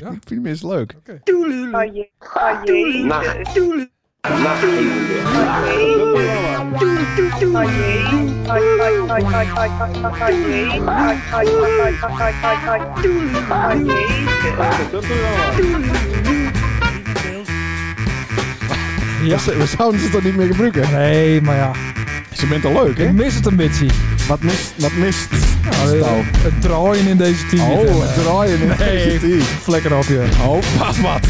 Ja? Ik vind hem eens leuk. Oh jee. Oh jee. Nacht. Doele. Oh jee. Oh jee. Oh jee. Oh jee. Oh jee. Oh jee. Oh jee. Oh jee. Ja. We zouden ze toch niet meer gebruiken? Nee, maar ja. Ze bent al leuk, hè? Ik mis het een beetje. Wat mist... Wat mist... Nou, eh, Nou, het draaien in deze team. oh, het draaien in deze Nee, team. flikker op je. Oh, pas wat.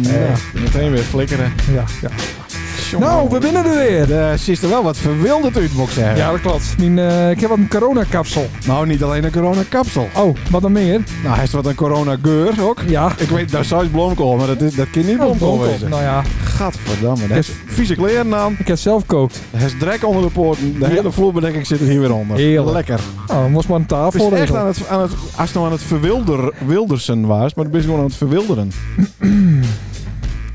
Ja, meteen weer flikkeren. eh, Ja, ja. Nou, we winnen er weer. Er ziet er wel wat verwilderd uit, moet ik zeggen. Ja, dat klopt. Mijn, eh, ik heb wat een coronakapsel. Nou, niet alleen een coronakapsel. Oh, wat dan meer? Nou, hij is wat een coronageur ook. Ja. Ik weet, daar zou het blomkool, maar dat, is, dat kan niet Oh, blomkool bonkel. wezen. Nou ja, Gadverdamme, daar is Yes. vieze kleren aan. ik heb zelf gekookt. Er is drek onder de poorten. De Ja. hele vloerbedekking zit er hier weer onder. Heerlijk. Lekker. Nou, dan moest maar een Het tafel is echt regelen. aan het, aan het, als het nou aan het verwilder, wildersen was, maar het is gewoon aan het verwilderen.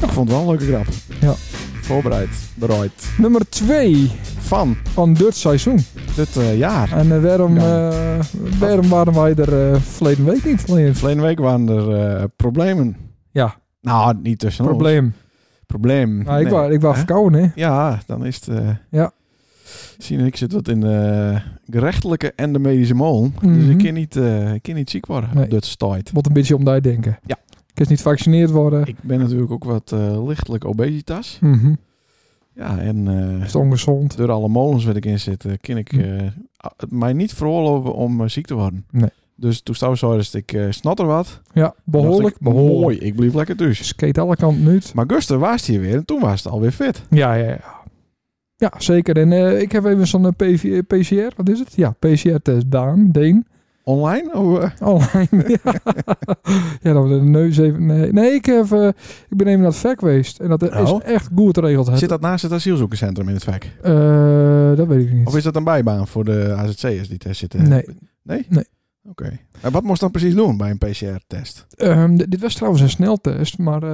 ik vond het wel een leuke grap. Ja. Voorbereid, bereid. Nummer 2 Van van dit seizoen. dit eh, jaar. En eh, waarom, Ja. eh, waarom waren wij er eh, verleden week niet? Alleen Verleden week waren er eh, problemen. Ja, Nou, niet tussen ons. probleem. Probleem. Nou, ik, Nee. was ik was Hè? verkouden, hè? Ja, dan is het... eh, Ja. Zie en ik zit wat in de gerechtelijke en de medische molen. Dus Mhm. ik kan niet, eh, ik kan niet ziek worden. Nee. Dat stoit. Moet een beetje om daar denken. Ja. Ik is niet gevaccineerd worden. Ik ben natuurlijk ook wat eh, lichtelijk obesitas. Mhm. Ja, en eh, Is het ongezond? door alle molens waar ik in zit, eh, kan ik Hm. eh, a- het mij niet veroorloven om eh, ziek te worden. Nee. Dus toen zou zo dat ik eh snatter wat. Ja, behoorlijk. Dacht ik, Mooi, behoorlijk. ik bleef lekker thuis. Skate alle kanten nu. Maar Guster was hier weer en toen was het alweer fit. Ja, ja, ja. Ja, zeker. En eh, ik heb even zo'n eh, PV eh, PCR, wat is het? Ja, PCR-test Daan, Deen, Online? Of, eh, online. ja. ja, dan de neus even... Nee, nee ik, heb, eh, ik ben even naar het VEC geweest. En dat eh, is Oh. echt goed geregeld. Het- zit dat naast het asielzoekerscentrum in het vak? Eh, dat weet ik niet. Of is eh, dat een bijbaan voor de AZC'ers die daar zitten? Nee. Nee? Nee. Oké. En wat moest dan precies doen bij een PCR-test? Ehm, d- dit was trouwens een sneltest, maar eh,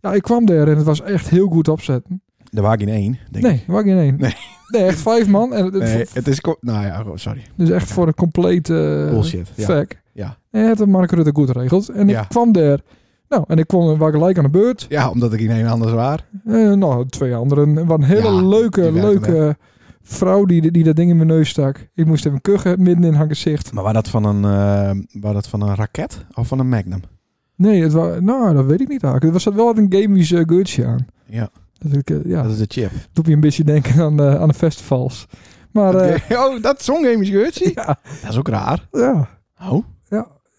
ja, ik kwam daar en het was echt heel goed opzetten. De wagen in één, denk ik. nee, waar in één. Nee. Nee, echt vijf man. En het, Nee, het is... ko- Nou ja, oh, sorry. Dus echt voor een complete eh, Bullshit. Ja. Fuck. Ja. En het had Mark Rutte goed geregeld. En Ja. ik kwam daar. Nou, en ik kwam waar gelijk aan de beurt. ja, omdat ik in één anders waar. Eh, nou, twee anderen. Er was een hele Ja, leuke, die werken leuke vrouw die, die dat ding in mijn neus stak. Ik moest even kuchen, midden in haar gezicht. Maar was dat van een, eh, was dat van een raket of van een magnum? Nee, het was, nou, dat weet ik niet eigenlijk. Er zat wel wat een gamisch eh, geurtje aan. Ja. Dat, ik, eh, ja, Dat dat is de chip. doet me een beetje denken aan, eh, aan de festivals. Maar eh, oh, dat zonggame is Gertsie? ja, Dat is ook raar. ja. Oh.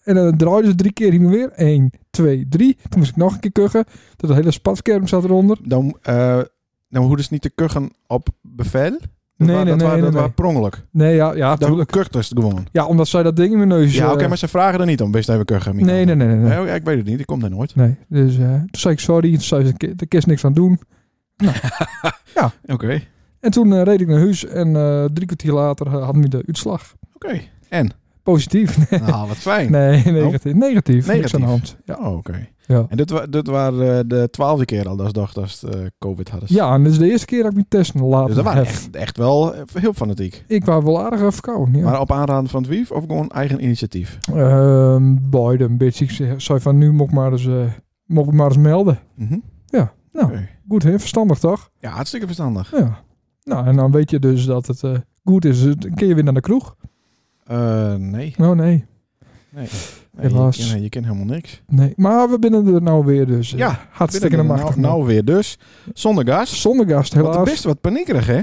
En dan draaiden ze drie keer heen en weer. Eén, twee, drie. Toen moest ik nog een keer kuchen. Dat hele spatskerm zat eronder. Dan, eh dan hoeven ze niet te kuchen op bevel. Dat Nee, wa- nee, dat nee, wa- nee, Dat nee. was per ongeluk. Nee, ja, ja, Dan tuurlijk. kucht dus gewoon. Ja, omdat zij dat ding in mijn neus... Ja, eh, oké, maar ze vragen er niet om. Best even kuchen, Mico. nee, nee, nee, nee. nee. Nee, ik weet het niet. Ik kom daar nooit. Nee, dus eh, toen zei ik sorry. Toen zei ze, "Ki- er is niks aan doen. Oké. En toen eh, reed ik naar huis en eh, drie kwartier later eh, had me de uitslag. Oké. Positief. Nou, wat fijn. Nee, negatief. Negatief. Niks Negatief. aan de hand. Ja. Oh, oké. Ja. En dit, wa dit waren eh, de twaalfde keer al dat ze dachten dat ze eh, COVID hadden. ja, en dit is de eerste keer dat ik mijn test laat Dus dat waren heb. echt, echt wel eh, heel fanatiek. Ik was wel aardig eh, verkouden, ja. Maar op aanraden van het wief of gewoon eigen initiatief? Ehm Boyd een beetje. Ik zei- zei van nu moet ik maar eens, eh, moet ik maar eens melden. Mhm. Ja, nou. Oké. Goed, hè? Verstandig toch? Ja, hartstikke verstandig. Ja. Nou, en dan weet je dus dat het eh, goed is. Dus Dan kun je weer naar de kroeg. Eh, nee. Oh nee. nee. nee Helaas. Je, nee, je kent helemaal niks. Nee. Maar we binnen er nou weer dus. eh, Ja, Hartstikke naar Binnen- machtig. nou, nou weer dus. Zonder gas. Zonder gast, Wat helaas. best wat paniekerig, hè?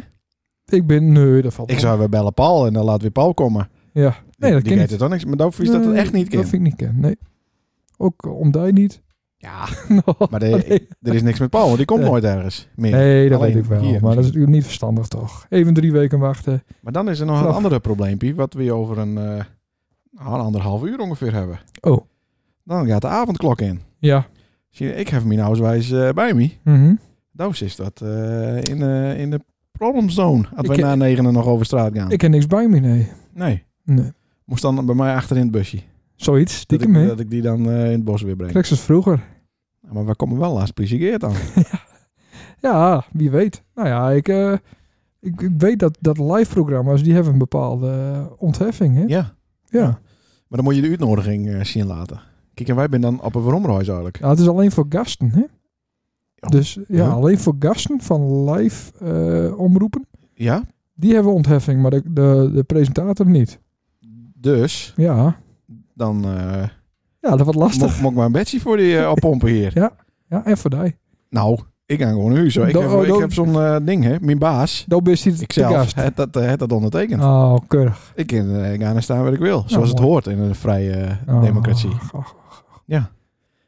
Ik ben... Nee, dat valt Ik wel. zou weer bellen Paul en dan laat weer Paul komen. Ja. die Nee, dat kan weet niet. het dan niks. Maar dat is dat het Nee, echt niet Dat kan. vind ik niet ken, nee. Ook eh, om die niet. Ja, Nou, maar de- nee. er is niks met Paul, want die komt Nee. nooit ergens meer. Nee, dat Alleen weet ik wel. hier maar dat is natuurlijk niet verstandig toch. Even drie weken wachten. Maar dan is er nog een Vlag. andere probleempje, wat we over een, eh, nou, een anderhalf uur ongeveer hebben. Oh. Dan gaat de avondklok in. Ja. Zie je, ik heb mijn huiswijs eh, bij me. Mhm. Doos is dat eh, in, de, in de problemzone. Als Ik wij ken- na negenen nog over straat gaan. Ik heb niks bij me, nee. Nee, Nee. moest dan bij mij achter in het busje. Zoiets, Dat stiekem ik, hè. dat ik die dan eh, in het bos weer breng. Krijg ze het vroeger. Maar we komen wel laatst plezier dan. Ja, wie weet. Nou ja, ik, eh, ik, ik weet dat, dat live programma's, die hebben een bepaalde eh, ontheffing hè. ja. Ja. Maar dan moet je de uitnodiging eh, zien laten. Kijk, en wij zijn dan op een Romreis eigenlijk. Ja, het is alleen voor gasten, hè? Ja. Dus ja, Ja. alleen voor gasten van live eh, omroepen. Ja, Die hebben ontheffing, maar de, de, de presentator niet. dus Ja, dan eh ja dat wordt lastig. mo- moet ik maar een bedje voor die eh, oppompen hier. Ja, en voor die. Nou, ik ga gewoon nu zo. Ik Do- heb, oh, ik do- heb zo'n eh, ding, hè. Mijn baas, Dan ben je ik de zelf, gast. heb dat, eh, het dat ondertekend. Oh, keurig. Ik kan eh, gaan en staan waar ik wil. Zoals het Oh, mooi. hoort in een vrije eh, Oh, democratie. ach, ach, ach. Ja.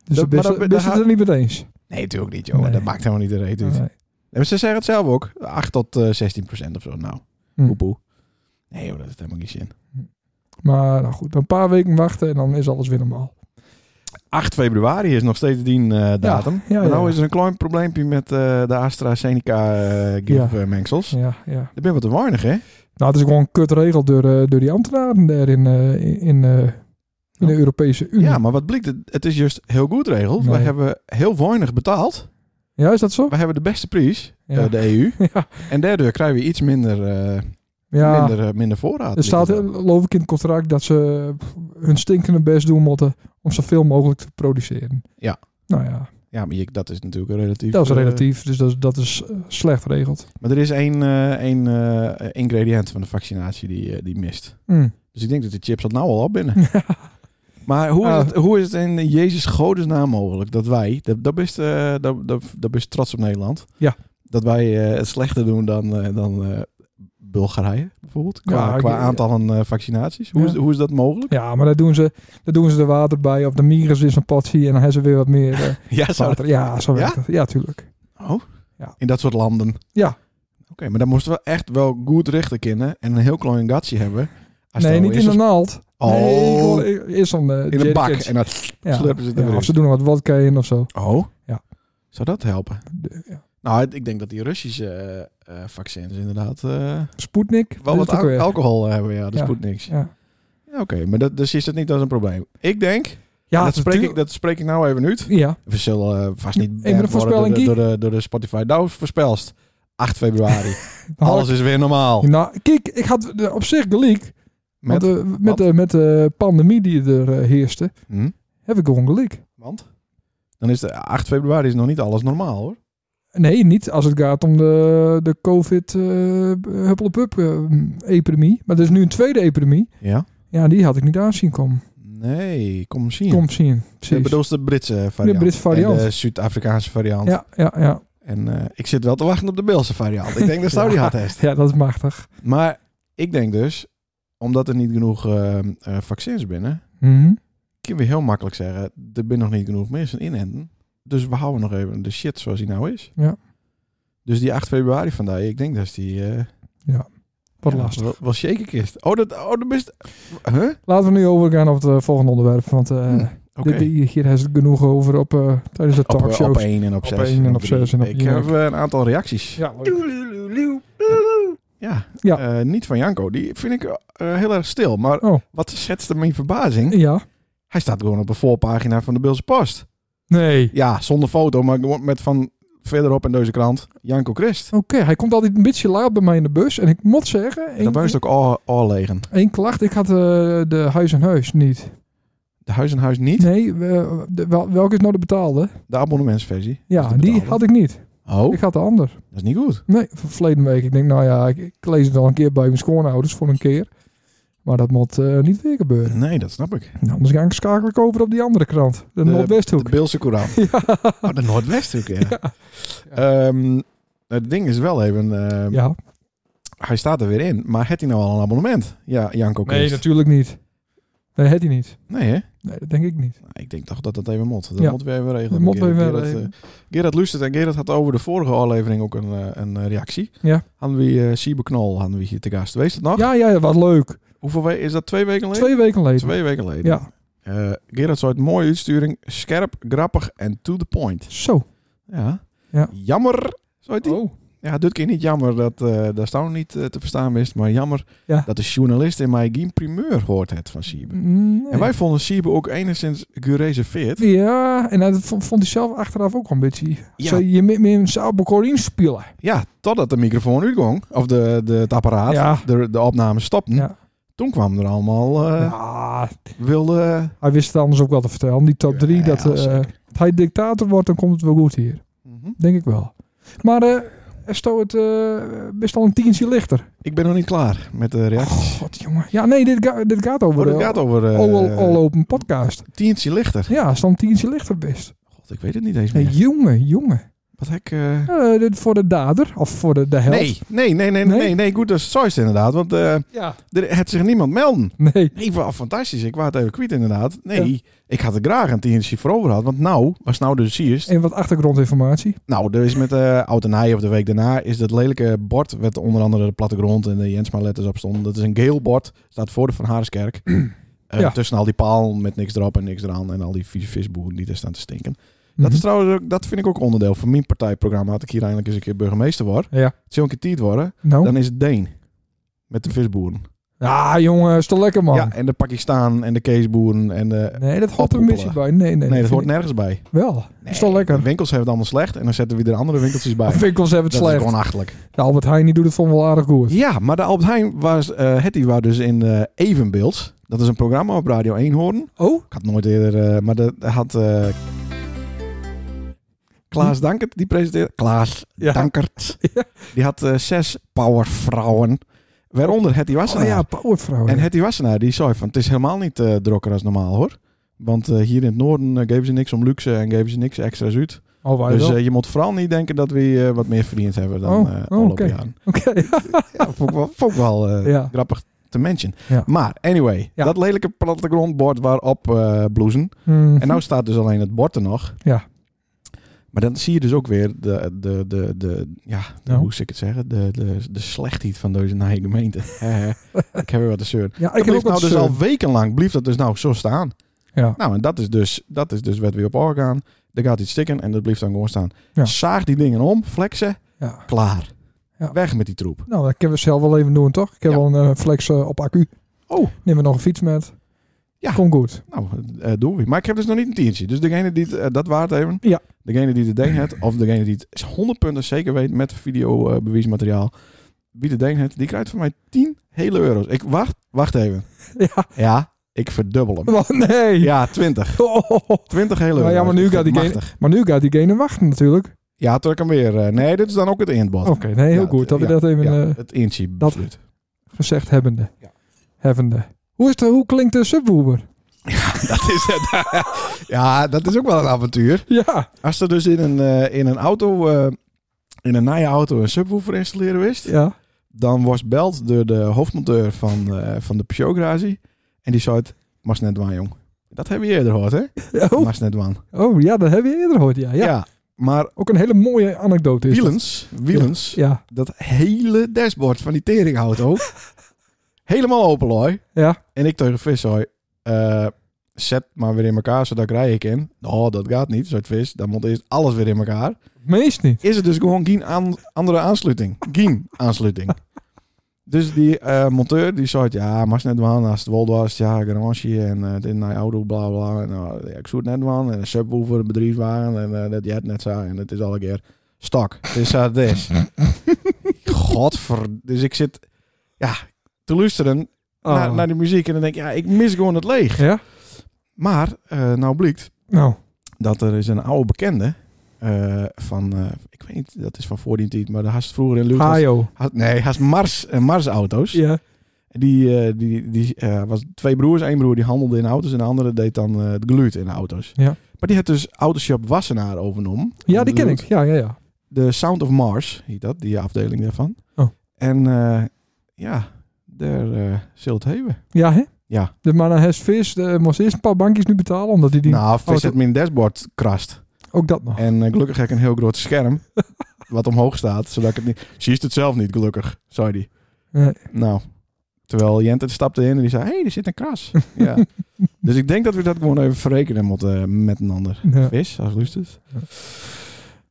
Dus Dat- dat, maar best, dat- best dat het gaat- er niet mee eens. Nee, natuurlijk niet, joh. Nee. Dat maakt helemaal niet de reet uit. Nee. Nee, maar ze zeggen het zelf ook. 8 tot eh, 16 procent of zo. Nou, Hm. poepoe. Nee, joh, dat heeft helemaal geen zin. Maar nou goed, een paar weken wachten en dan is alles weer normaal. 8 februari is nog steeds die eh, datum. ja, maar nou ja. is er een klein probleempje met eh, de AstraZeneca eh give eh, mengsels. Ja, ja. Dat ben wat te weinig, hè? Nou, het is gewoon een kutregel door, eh, door die ambtenaren daar in, eh, in, in, eh, in de Nou. Europese Unie. Ja, Ja, maar wat blijkt, het, het is juist heel goed regeld. We Mhm. Nee. hebben heel weinig betaald. is dat zo? We hebben de beste prijs, eh, Ja. de EU. Ja. En daardoor krijgen we iets minder, eh, Ja, minder, eh, minder voorraad. er staat, eh, geloof ik, in het contract dat ze eh, pff, hun stinkende best doen moeten om zoveel mogelijk te produceren. Ja. Nou ja, Ja, maar je- dat is natuurlijk een relatief... dat is eh, relatief, dus dat, is- dat is eh, slecht geregeld. maar er is één, eh, één eh, ingrediënt van de vaccinatie die, eh, die mist. Hm. Dus ik denk dat de chips dat nou al op binnen. Maar hoe is, Ah. het, hoe is het in Jezus Godes naam mogelijk dat wij, dat, dat, best, eh, dat, dat, dat best trots op Nederland, Ja. dat wij eh, het slechter doen dan, eh, dan eh, Bulgarije bijvoorbeeld, qua, Ja, ik- qua aantallen eh, vaccinaties? Hoe, Ja. is, hoe is dat mogelijk? Ja, maar daar doen ze, daar doen ze de water bij of de migras is een patsie en dan hebben ze weer wat meer eh, Ja, zou water. Ja, zo werkt het. Ja, tuurlijk. dat- oh, Ja. in dat soort landen? Ja. Oké, maar dan moesten we echt wel goed richten kennen en een heel klein gatje hebben. Als nee, het al niet is in een als- naald. Nee, ik Oh, wil- ik- is dan de in een bak. En dat slurpen ze er weer ja, in. Of ze doen nog wat vodka in of zo. Oh, Ja. zou dat helpen? De, ja. Nou, het- ik denk dat die Russische eh, eh, vaccins inderdaad eh, Sputnik. wel wat dat is het ook al- weer. alcohol eh, hebben. Ja, dat Ja. moet niks. Ja, Ja, Oké, maar dat, dus is dat niet als een probleem. Ik denk, ja dat, spreek ik, natuurlijk. dat spreek ik nou even uit. Ja, We zullen eh, vast niet Even banned een worden voorspellingie. door, de, door, de, door de Spotify. Nou, voorspelst. 8 februari. Nou, Alles is weer normaal. Nou, kijk, ik had eh, op zich gelijk. Met, want, eh, met, want? de, met de pandemie die er eh, heerste, hm? heb ik gewoon gelijk. Want? Dan is de 8 februari is nog niet alles normaal hoor. Nee, niet als het gaat om de, eh, de COVID-huppelepup-epidemie. eh, maar er is nu een tweede epidemie. Ja? Ja, die had ik niet aanzien komen. Nee, kom zien. Kom zien. Ik Precies. bedoel de Britse variant. Britse variant. En de Zuid-Afrikaanse variant. Ja, ja, ja. En eh, ik zit wel te wachten op de Beelse variant. Ik denk dat Saudi Ja. had heeft. Ja, dat is machtig. Maar ik denk dus, omdat er niet genoeg eh, eh, vaccins binnen, Mhm. kunnen we heel makkelijk zeggen, er zijn nog niet genoeg mensen inenten. Dus we houden nog even de shit zoals die nou is. Ja. Dus die 8 februari vandaag, ik denk dat die... eh Wat ja, lastig. Wel, wel shakerkist. Oh, dat, oh, dat best... Huh? Oké. Laten we nu overgaan op het eh, volgende onderwerp. Want eh, dit, hier is het genoeg over op, eh, tijdens de Hm, Op, eh, talkshows. op 1 en op Op 6. één en op zes en op Ik drie. heb eh, een aantal reacties. Ja, leuk. Ja. Ja. Eh, niet van Janko. Die vind ik eh, heel erg stil. Maar Oh. wat schetste mijn verbazing? ja. Hij staat gewoon op de voorpagina van de Beelse Post. Nee. Ja, zonder foto, maar gewoon met van verderop in deze krant Janko Christ. Oké, hij komt altijd een beetje laat bij mij in de bus. En ik moet zeggen, En dan één, buist ook al, al legen. één klacht. Ik had eh, de huis en huis niet. De huis en huis niet, Nee, we- de- wel- welke is nou de betaalde? de abonnementsversie. Ja, Dat is de die betaalde. had ik niet. Oh, Ik had de ander. dat is niet goed. Nee, van verleden week. Ik denk, nou ja, ik, ik lees het al een keer bij mijn schoonouders voor een keer. Maar dat moet eh, niet weer gebeuren. Nee, dat snap ik. Nou, anders ga ik schakel ik over op die andere krant. De, De- Noordwesthoek. De Beelse Courant. Oh, de Noordwesthoek, ja. Ehm, het ding is wel even, ehm, ja. hij staat er weer in, maar heeft hij nou al een abonnement? Ja, Janko Christ. Nee, natuurlijk niet. Nee, had hij niet. Nee, hè? Nee, dat denk ik niet. Nou, Ik denk toch dat dat even moet. Dat Ja. moet weer even regelen. Dat moet Gerard- weer Gerard, regelen. eh, Gerard Lustert en Gerard had over de vorige aflevering ook een, eh, een eh, reactie. Ja. Hadden we eh Cyberknol hadden we hier te gast. Wees het nog? Ja, ja, wat leuk. Hoeveel we is dat? Twee weken geleden? Twee weken geleden. Twee weken geleden. Ja, Eh, Gerard zei het mooie uitsturing. Scherp, grappig en to the point. zo. Ja. Ja. Jammer, zei hij. Oh. Ja, dit keer niet jammer dat eh daar staan niet eh, te verstaan is. Maar jammer Ja. dat de journalist in mij geen primeur hoort het van Cyber. Nee. En wij vonden Cyber ook enigszins gereserveerd. Ja, en dat vond, vond hij zelf achteraf ook wel een beetje. Ja. Zo, je moet met een Sauberkoor inspelen. Ja, totdat de microfoon uitging. Of de, de, het apparaat, Ja. de, de opname stopte. Ja. Toen kwamen er allemaal eh, Ja, wilde... hij wist het anders ook wel te vertellen. Die top 3, Ja, dat eh, zeker. als hij dictator wordt, dan komt het wel goed hier. Mhm. Denk ik wel. Maar eh er stond het eh, best al een tientje lichter. Ik ben nog niet klaar met de reactie. God, jongen. Ja, nee, dit, ga- dit gaat over Oh, de dat gaat over eh, all, all Open podcast. tientje lichter. Ja, er stond een tientje lichter best. God, ik weet het niet eens Nee, meer. jongen, jongen. Wat hek... eh, Eh, dit voor de dader, of voor de, de held. Nee, nee, nee, nee, Nee? nee, nee, goed, dat is het inderdaad. Want eh, Ja. er had zich niemand melden. Nee. Nee, wel fantastisch. Ik was het even kwijt inderdaad. Nee, ik had er graag een tientje voor over gehad. Want nou, was nou de siers. En wat achtergrondinformatie. Nou, er is met eh Oud en Nij of de week daarna is dat lelijke bord met onder andere de plattegrond en de Jensma letters op stonden. Dat is een geel bord, staat voor de Van Haarskerk. Eh, Ja. Tussen al die paal met niks erop en niks eraan en al die vieze visboeren die er staan te stinken. Mhm. Dat is trouwens ook, dat vind ik ook onderdeel van mijn partijprogramma. Dat ik hier eindelijk eens een keer burgemeester word. Ja. Zul ik een tiet worden, Nou. dan is het Deen. Met de visboeren. Ah, jongen, is toch lekker, man. Ja, en de Pakistan en de Keesboeren en de... Nee, dat hoort er een Ophoepelen. beetje bij. Nee, nee. Nee, dat vind hoort ik nergens bij. Wel. is toch De lekker. winkels hebben het allemaal slecht en dan zetten we er andere winkeltjes bij. Winkels hebben Dat het is slecht. gewoon achterlijk. De Albert Heijn die doet het van wel aardig goed. Ja, maar de Albert Heijn was, eh het die was dus in eh, Evenbeeld. Dat is een programma op Radio 1 horen. Oh? Ik had nooit eerder, eh, maar dat had eh, Klaas Dankert die presenteerde. Klaas Hm. Ja. Dankert. Ja. Die had eh, zes powervrouwen, waaronder Hetty Oh Wassenaar. ja, powervrouw. En Hetty Wassenaar die zei van, het is helemaal niet eh drokker als normaal hoor. Want eh, hier in het noorden eh, geven ze niks om luxe en geven ze niks extra's uit. Oh, wij dus wel. eh, je moet vooral niet denken dat we eh, wat meer verdiend hebben dan eh Oh, oh, afgelopen oké. jaren. Oké. Ja, vond ik wel, vond ik wel eh, Ja. grappig te mention. Ja. Maar anyway, Ja. dat lelijke plattegrondbord waarop eh bloezen. Mhm. En nou staat dus alleen het bord er nog. Ja. Maar dan zie je dus ook weer de, de, de, de ja, de, Nou. hoe zou ik het zeggen, de, de, de slechtheid van deze naaie gemeente. Hè, hè. ik heb weer wat te zeuren. ja, Ik ik heb ook nou wat dus zeun. al wekenlang, blieft dat dus nou zo staan. Ja. Nou, en dat is dus, dat is dus wat we op gaan. Er gaat iets stikken en dat blijft dan gewoon staan. Ja. Zaag die dingen om, flexen, ja. klaar. Ja. Weg met die troep. Nou, dat kunnen we zelf wel even doen, toch? Ik heb Ja. wel een eh, flex eh, op accu. Oh. Neem we nog een fiets met. Ja. Kom goed. Nou, eh doen we. Maar ik heb dus nog niet een tientje. Dus degene die het, eh, dat waard even. Ja. Degene die het ding had, of degene die het 100 punten zeker weet met video eh, bewijsmateriaal. Wie de ding had, die krijgt van mij 10 hele euro's. Ik wacht, wacht even. Ja. Ja, ik verdubbel hem. Oh, nee. Ja, 20. Oh, oh, oh. 20 hele Maar euro's. ja, maar nu Ik gaat vind die het machtig. Maar nu gaat diegene wachten natuurlijk. Ja, trek hem weer. eh, nee, dit is dan ook het eindbod. Oké, nee, heel Ja, goed. Dat we ja, dat even ja, Oh, eh, het eentje dat- besluit. gezegd hebbende. Ja. Hebbende. Hoe, is de, hoe klinkt de subwoofer? Dat is het. ja, dat is ook wel een avontuur. Ja. Als er dus in een, eh, in een auto, eh, in een naaie auto een subwoofer installeren wist. Ja. Dan was beld door de hoofdmonteur van, eh, van de Peugeot garage. En die zei het, mas net waan, jong. Dat hebben we eerder gehoord, hè? Oh, Mas net waan. oh, ja, dat heb je eerder gehoord. Ja, ja. Maar Ook een hele mooie anekdote is dat. wielens, wielens, Ja, dat hele dashboard van die teringauto, helemaal open, looi. ja. En ik tegen Vis zei, eh, zet maar weer in elkaar, zodat ik rijden kan. Oh, dat gaat niet, zei Vis. Dan moet eerst alles weer in elkaar. Meest niet. is er dus gewoon geen aan, andere aansluiting. Geen aansluiting. Dus die eh, monteur die zei, ja, maar is net wel, als het wel was, ja, garage en eh dit naar auto, bla bla. En, eh, ik zoek het net wel, en een subwoofer, een bedrijfswagen, en eh, dat jij het net zo, en het is al een keer stak. Het is zo, het is. Godver, dus ik zit, ja, te luisteren Oh. naar, naar die muziek en dan denk ik, ja, ik mis gewoon het leeg. Ja? Maar, eh, nou blijkt, Nou, dat er is een oude bekende eh, van, eh, ik weet niet, dat is van voor die tijd, maar daar had vroeger in Lucht. had- Hajo. had- nee, haast Mars, eh, Mars-auto's. Ah, Ja. Die, eh, die, die eh, was twee broers. Eén broer die handelde in auto's en de andere deed dan eh, het geluid in de auto's. Ja. Maar die had dus Autoshop Wassenaar overnomen. ja, die ken Lucht. ik. Ja, ja, ja. De Sound of Mars, heet dat, die afdeling daarvan. Oh. En eh, ja, daar eh zult hebben. Ja, hè? Ja. De man aan Hes Vis eh, moest eerst een paar bankjes nu betalen, omdat hij die... Oh, nou, vis auto- het mijn dashboard krast. Ook dat nog. En eh, gelukkig heb ik een heel groot scherm. wat omhoog staat, zodat ik het niet... Ze is het zelf niet, gelukkig, zei die. Nee. Nou, terwijl Jente stapte in en die zei... Hé, hey, er zit een kras. ja. Dus ik denk dat we dat gewoon even verrekenen moeten, eh, met een ander. Ja. Vis, als Lustus.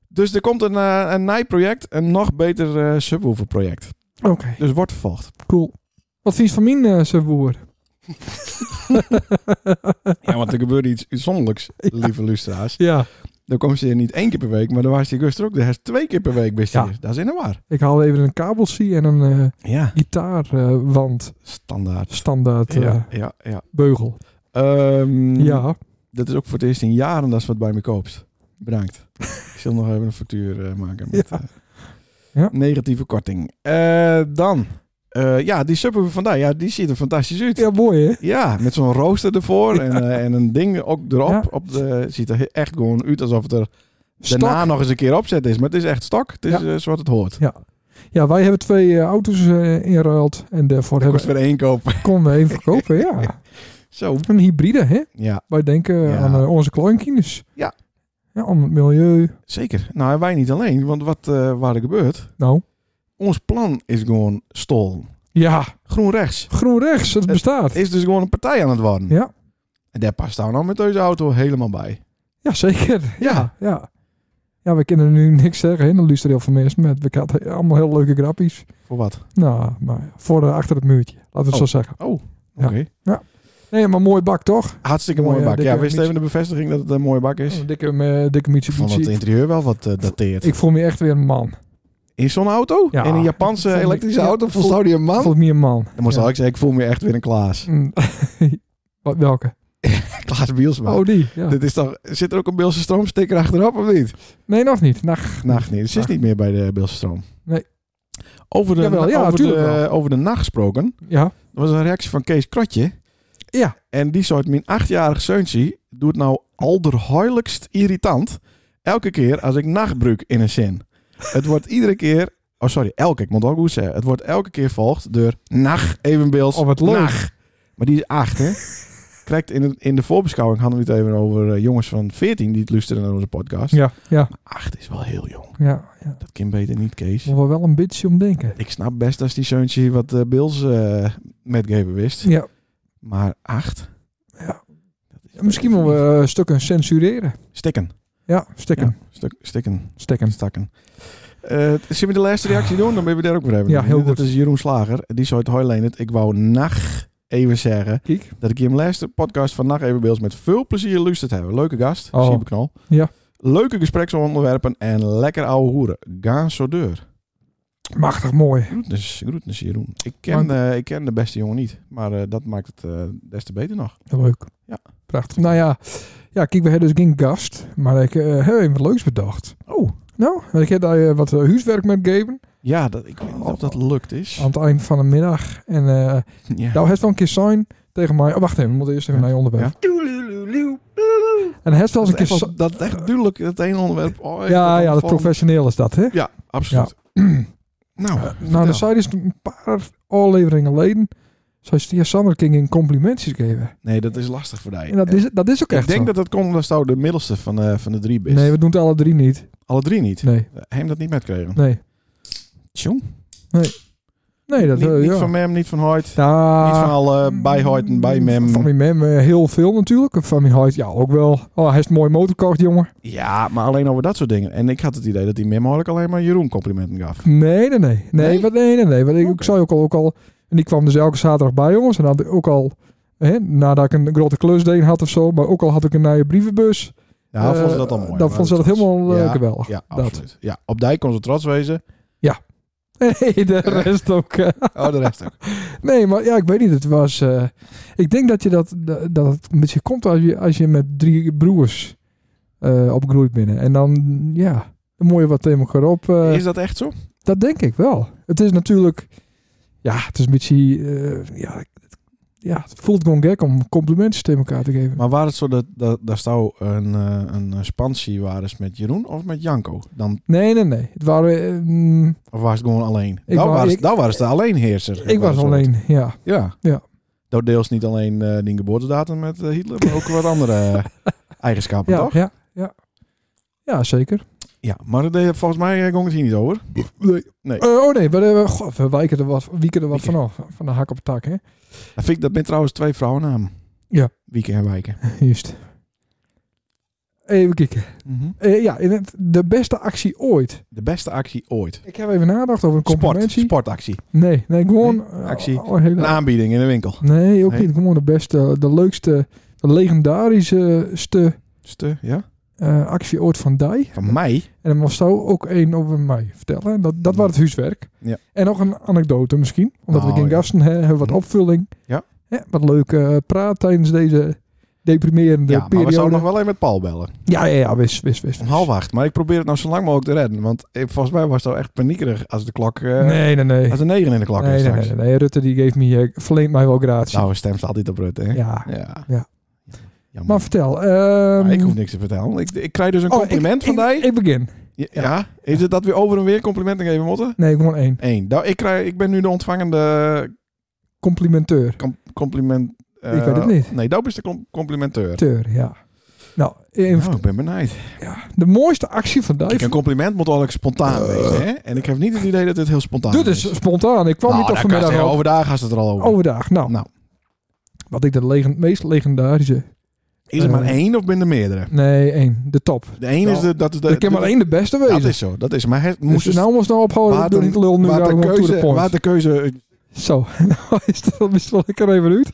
Dus er komt een, eh, een NAI-project, een nog beter eh subwoofer-project. Oké, Dus wordt vervolgd. cool. Wat vies van mijn eh subwoofer? Ja, want er gebeurde iets uitzonderlijks, lieve luisteraars. Ja. Dan kwam ze hier niet één keer per week, maar dan was je gust er ook. Daar is twee keer per week best Ja. hier. Dat is in de war. Ik haal even een kabelsie en een eh Ja, gitaarwand standaard. standaard eh, Ja, ja, ja. beugel. Ehm, Ja, Dat is ook voor het eerst in jaren dat ze wat bij me koopt. Bedankt. Ik zal nog even een factuur eh, maken met Ja. eh, Ja. negatieve korting. Eh, dan, Eh, ja, die supper van daar, ja, die ziet er fantastisch uit. Ja, ja mooi hè? met zo'n rooster ervoor en, eh, en een ding ook erop. Ja. Op de, ziet er echt gewoon uit alsof het er Stok. daarna nog eens een keer opzet is. Maar het is echt stok. Het is Ja. eh, zoals het hoort. Ja. ja, wij hebben twee eh, auto's eh, inruild en daarvoor Kost hebben, weer één kopen. konden we even verkopen. Ja. Zo. Een hybride hè? Ja, Wij denken Ja. aan eh, onze kleinkinders. Ja. ja. Om het milieu. zeker. Nou, en wij niet alleen. Want wat eh, waar er gebeurt, Nou, ons plan is gewoon stol. ja. Groen rechts. Groen rechts, het bestaat. is dus gewoon een partij aan het worden. Ja. En daar past nou, nou met deze auto helemaal bij. Ja, zeker. Ja. Ja, ja. Ja, we kunnen nu niks zeggen. hè. Dan luisteren heel veel mensen met. We hadden allemaal heel leuke grappies. Voor wat? Nou, maar ja, voor de, achter het muurtje. Laten we het Oh. zo zeggen. Oké. Ja. Nee, maar mooie bak toch? Hartstikke mooie Mooie, eh, bak. dikke Ja, wist Mitsubishi. even de bevestiging dat het een mooie bak is. Een dikke, eh, dikke Ik vond Mitsubishi. het Ik, interieur wel wat eh, dateerd. ik voel me echt weer een man. in zo'n auto? Ja. In een Japanse Ik vond- elektrische ja, auto? ik Voelt die een man? Ik voel me een man. Dan moest Ja. ik zeggen, ik voel me echt weer een Klaas. Mm. Wat, welke? Klaas Bielsma. Oh, die. Ja. Dit is toch, zit er ook een Beelse stroomsticker achterop of niet? Nee, nog niet. Nou, Nacht. Nacht niet. Het is Nacht. niet meer bij de Beelse stroom. Nee. Over de, Jawel, ja, over, de, tuurlijk wel. over de nacht gesproken. Ja. Er was een reactie van Kees Krotje. Ja. En die soort mijn achtjarige zeuntje doet nou alderhuiligst irritant. Elke keer als ik nachtbruik in een zin. Het wordt iedere keer... Oh, sorry. Elke. Ik moet ook goed zeggen. Het wordt elke keer volgd door nacht evenbeeld. Oh, wat leuk. Nacht. Maar die is acht, hè? Krijgt in, de- in de voorbeschouwing hadden we het even over eh, jongens van 14 die het luisteren naar onze podcast. Ja, ja, Acht is wel heel jong. ja. ja. Dat kind beter niet, Kees. Moet we wel een beetje om denken. Ik snap best als die zeuntje wat eh, Bills eh metgeven wist. Ja. Maar acht? Ja. Dat is- Misschien moeten we eh, stukken censureren. Stikken. Ja, stikken. Ja, stuk, stikken. Stikken. Stakken. Eh zullen we de laatste reactie doen? Dan ben we daar ook weer even. Ja, heel Dat goed. is Jeroen Slager. Die zou het Hoijleenert. Ik wou nacht even zeggen Kijk. dat ik hier mijn laatste podcast van Nacht Even Beels met veel plezier luisterd heb. Leuke gast. Oh. Siebe Knol. Ja. Leuke gespreksonderwerpen en lekker ouwe hoeren. Gaan zo deur. Machtig mooi. Groetens, groetens Jeroen. Ik ken, eh, ik ken de beste jongen niet, maar eh, dat maakt het eh, des te beter nog. Leuk. Ja. Prachtig. Nou ja, ja kijk, we hebben dus geen gast, maar ik eh, heb even wat leuks bedacht. Oh. Nou, ik heb daar eh, wat eh, huiswerk met gegeven Ja, dat, ik weet niet Oh. of dat lukt is. aan het eind van de middag. En eh Ja. nou, het wel een keer zijn tegen mij. Oh, wacht even, we moeten eerst even Ja. naar je onderwerp. Doedeloeloe. En het wel eens een dat, keer. is echt zo- wel- dat is echt duidelijk het een onderwerp. Oh, echt ja, ja, dat opvallend. professioneel is dat, hè? Ja, absoluut. Nou, nou, vertel. de site is een paar afleveringen geleden. Zoals die Sander King in complimentjes geven. nee, dat is lastig voor mij. En dat is, dat is ook ik echt. denk zo. dat dat komt omdat zou de middelste van, eh, van de drie is. Nee, we doen het alle drie niet. Alle drie niet. Nee, Hem dat niet met kregen. nee. Tjong. Nee, dat niet, eh, niet ja. van Mem, niet van Hoyt. Ja. niet van al eh, bij Hoyt en bij Mem. mm, Van die mem eh, heel veel natuurlijk. Van die Hoyt, ja, ook wel. Oh, hij is een mooie motorkort, jongen. Ja, maar alleen over dat soort dingen. En ik had het idee dat die Mem eigenlijk alleen maar Jeroen complimenten gaf. Nee, nee, nee. Nee? Nee, wat, nee, nee. nee. Want ik, ik Oké. zei ook al, ook al... En die kwam dus elke zaterdag bij, jongens. En had ik ook al... Hè, nadat ik een grote klus deed had of zo. Maar ook al had ik een nieuwe brievenbus. Ja, dan Eh, vond ze dat al mooi. Dan maar vond ze dat was- helemaal eh, Ja, geweldig. Ja, Dat. absoluut. Ja, op dijk kon ze trots wezen. Nee, de rest ook. eh. Oh, de rest ook. Nee, maar ja, ik weet niet. Het was... eh, ik denk dat je dat, dat, dat het een beetje komt als je, als je met drie broers eh, opgroeit binnen. En dan, ja... Dan moet je wat tegen elkaar op... eh, is dat echt zo? Dat denk ik wel. Het is natuurlijk... Ja, het is een beetje... eh, ja, het- ja, het voelt gewoon gek om complimentjes tegen elkaar te geven. Maar waar het zo dat, dat daar zou een, eh, een eh, spansie waar is met Jeroen of met Janko? Dan, Nee, nee, nee. Het waren, eh, mm, of was het gewoon alleen? Ik nou, wou- was, ik- nou was de alleenheerser. ik was Zo. alleen, ja. Ja. Ja. Nou, deels niet alleen eh die geboortedatum met eh, Hitler, maar ook wat andere eh, eigenschappen, Ja, toch? ja, ja. Ja, zeker. Ja, maar de, volgens mij eh, ging het hier niet over. Nee. Nee. oh nee, we, we, goh, we wijken er wat, wieken er wat Wieken. vanaf. Van de hak op de tak, hè? Dat, vind ik, dat ben trouwens twee vrouwennamen. Ja. Wieken en Wijken. Juist. Even kijken. Eh, ja, in het- de beste actie ooit. De beste actie ooit. Ik heb even nagedacht over een Sport, complimentje. sportactie. Nee, nee, gewoon... Nee, actie. Oh, oh, hele- Een aanbieding in de winkel. Nee, ook Nee. eh, niet. Gewoon de beste, de leukste, de legendarischste Ste, ja? eh, actie Oort van Dij. Van mij? En dan moest zo ook één over mij vertellen. Dat, dat was het huiswerk. Ja. En nog een anekdote misschien. Omdat Nou, we geen ja. gasten hebben, hebben we wat Hm. opvulling. Ja. wat leuke eh, praat tijdens deze deprimerende ja, maar we periode. zouden nog wel even met Paul bellen. Ja, ja, ja, wist, wist, wist. Om half acht. Maar ik probeer het nou zo lang mogelijk te redden. Want ik, volgens mij was het wel echt paniekerig als de klok... eh, nee, nee, nee. Als er negen in de klok Nee, is nee, straks. nee, nee. Rutte die geeft me, eh, verleent mij wel gratie. Nou, een stem staat altijd op Rutte, hè? ja. Ja. Ja. Jammer. Maar vertel. Maar ehm, ik hoef niks te vertellen. Ik, ik krijg dus een oh, compliment ik- van ik- mij. Ik begin. Ja, ja. Heeft het dat weer over en weer complimenten geven, Motte? Nee, gewoon één. Eén. Nou, ik, krijg, ik ben nu de ontvangende Complimenteur. com- compliment... eh, Ik weet het niet. Nee, dat is de com- complimenteur. Teur, ja. Nou, even- Oh, Nou, ik ben benijd. de mooiste actie van Kijk, een Dijf. compliment moet altijd spontaan wezen, hè? En ik heb niet het idee dat dit heel spontaan Dit is. is spontaan. Ik kwam Nou, niet daar kan op je vanmiddag zeggen, al. overdag gaat het er al over. Overdag. Nou, Nou. wat ik de legen- meest legendarische... is er maar eh, één of ben er meerdere? Nee, één. De top. De één is de... Dat, is de er kan maar één de beste wezen. Dat is zo, dat is. Maar hij dus moest dus- nou moest nou ophouden. Waar Ik doe de- niet lul nu. waar daar de gewoon to the keuze, point. waar de keuze Zo, nou is dat best wel lekker even uit.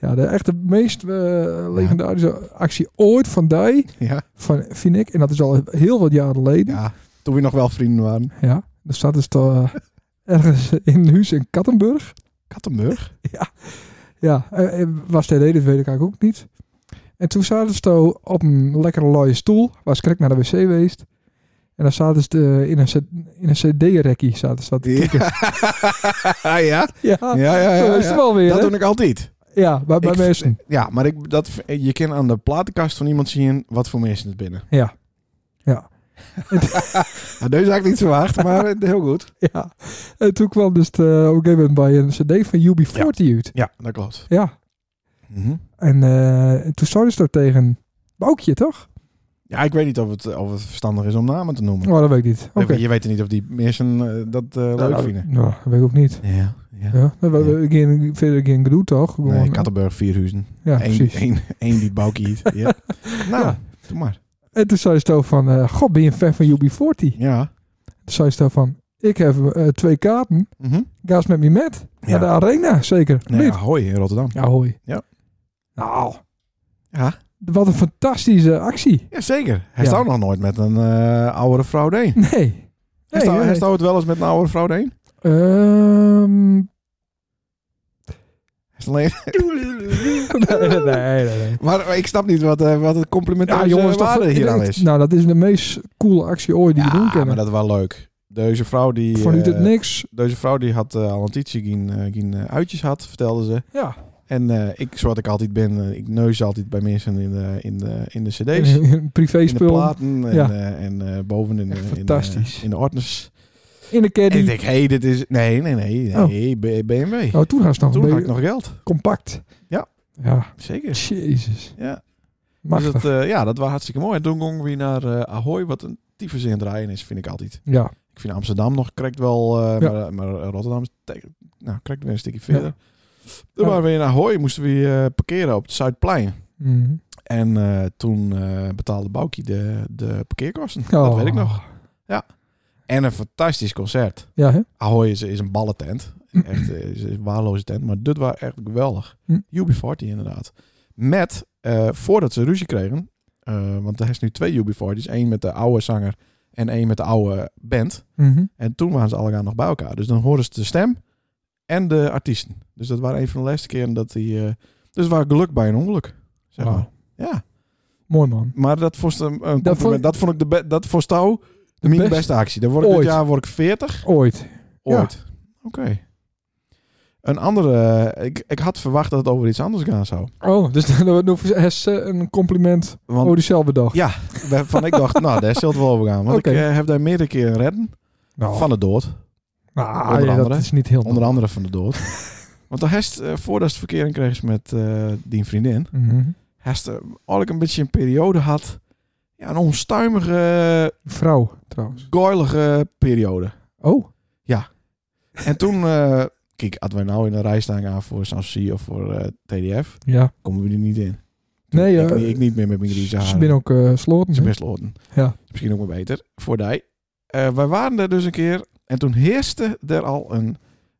Ja, de echte meest eh, legendarische actie ooit van Dij, Ja, van, vind ik. En dat is al heel wat jaren geleden. Ja, ja, toen we nog wel vrienden waren. er staat dus toch, eh, ergens in een huis in Kattenburg. Kattenburg? Ja, eh, eh, was de reden, dat weet ik eigenlijk ook niet. En toen zaten ze toch op een lekkere looie stoel, was krek naar de wc geweest. En dan zaten ze eh, in een, c- in een cd-rekkie. Zaten ze dat. Ja. ja, ja, Ja, ja, ja, zo is ja. het wel weer. Dat hè? doe ik altijd. Ja, bij, bij Ik- mensen. Ja, maar ik, dat, je kan aan de platenkast van iemand zien wat voor mensen het binnen. Ja. Nou, deze had ik niet verwacht, maar eh, heel goed. Ja, en toen kwam dus de, op een gegeven moment bij een cd van UB40 uit. Ja, dat klopt. Ja, Mhm. en eh, toen zei ze toch tegen Boukje, toch? Ja, ik weet niet of het, of het verstandig is om namen te noemen. Oh, dat weet ik niet. Oké. Je weet niet of die mensen eh, dat eh, leuk Nou, vinden. Nou, dat weet ik ook niet. Ja, ja. Ja, we hebben geen, verder geen gedoe, toch? Gewoon, Nee, Kattenburg, Vierhuizen. ja, Eén, precies. één, één die Boukie eet. Ja. Nou, Ja. doe maar. En toen zei ze toch van, eh, god, ben je een fan van UB40? Toen Ja. zei ze toch van, ik heb eh, twee kaarten. Mhm. Ga eens met me met. Ja. Naar de arena, zeker. Nou ja, Niet? hoi in Rotterdam. Ja, hoi. Ja. Nou, Ja. wat een fantastische actie. Jazeker. Hij Ja. staat nog nooit met een eh oudere vrouw heen. Nee. Nee, Hij staat nee, hij nee. staat het wel eens met een oudere vrouw heen. Ehm, Hij is alleen- nee, nee, nee, nee. maar ik snap niet wat, eh, wat eh, het complementaire waarde hier aan is. Nou, dat is de meest coole actie ooit die we doen maar kennen. dat was leuk. Deze vrouw die, Vanuit het eh, niks. deze vrouw die had eh, al een tijdje geen, eh, geen eh, uitjes had, vertelde ze. Ja. En eh, ik, zoals ik altijd ben, eh, ik neus altijd bij mensen in de, in de, in de cd's. Een- Een In de privéspul. platen en, Ja. eh, en eh, boven in de, Echt in de- fantastisch. in de ordners. In de En ik caddy. denk, hé, hey, dit is... Nee, nee, nee. Oh. nee, B- BMW. Oh, toen was het nog Toen een had ik beetje nog geld. compact. Ja. Ja. Zeker. Jezus. Ja. Dus Machtig. dat, eh, ja, dat was hartstikke mooi. En toen gingen we naar eh Ahoy, wat een tyfus in het rijden is, vind ik altijd. ja. Ik vind Amsterdam nog correct wel, eh, Ja. maar, maar Rotterdam is te- nou, correct weer een stukje Ja. verder. Toen Ja. waren we in Ahoy, moesten we eh, parkeren op het Zuidplein. Mhm. En eh, toen eh, betaalde Boukie de, de parkeerkosten. Dat Oh. weet ik nog. En een fantastisch concert. Ja, hè? Ahoy is, is een ballentent. Echt eh, is, is een waarloze tent. Maar dit was echt geweldig. Hm. UB40 inderdaad. Met, eh, voordat ze ruzie kregen... eh, want er is nu twee UB40's. Eén met de oude zanger en één met de oude band. Mhm. En toen waren ze allemaal nog bij elkaar. Dus dan hoorden ze de stem en de artiesten. Dus dat waren een van de laatste keren dat die... eh, dus waar geluk bij een ongeluk. Zeg Wauw. maar. Ja, Oh. Mooi man. maar dat vond, een, een compliment. vond ik- dat vond ik de be- dat vond jou de best- mijn beste actie. Dan word ik ooit. dit jaar word ik 40. Ooit. Ja. Ooit. Oké. Een andere. eh, Ik, ik had verwacht dat het over iets anders gaan zou. Oh, dus dan dan is ze een compliment Want over diezelfde dag. van ik dacht, nou, daar zult het wel over gaan. Want Oké. ik eh, heb daar meerdere keren redden. Nou, Van de dood. ah, onder ja, dat andere. is niet heel Onder andere van de dood. Want de hest, eh, voordat ze verkering kreeg met eh die vriendin, Mhm. hest eh, eigenlijk een beetje een periode had. Ja, een onstuimige, Vrouw, trouwens. goilige periode. Oh. En toen, eh, kijk, hadden wij nou in een rij staan gaan voor Sanssouci of voor eh, TDF, Ja. komen we er niet in. Nee, ik, eh, niet- ik niet meer met mijn grieze Ze haren. zijn ook eh sloten. Ze hè? best loten. Ja. Misschien ook maar beter. Voor die. Eh, wij waren daar dus een keer en toen heerste er al een,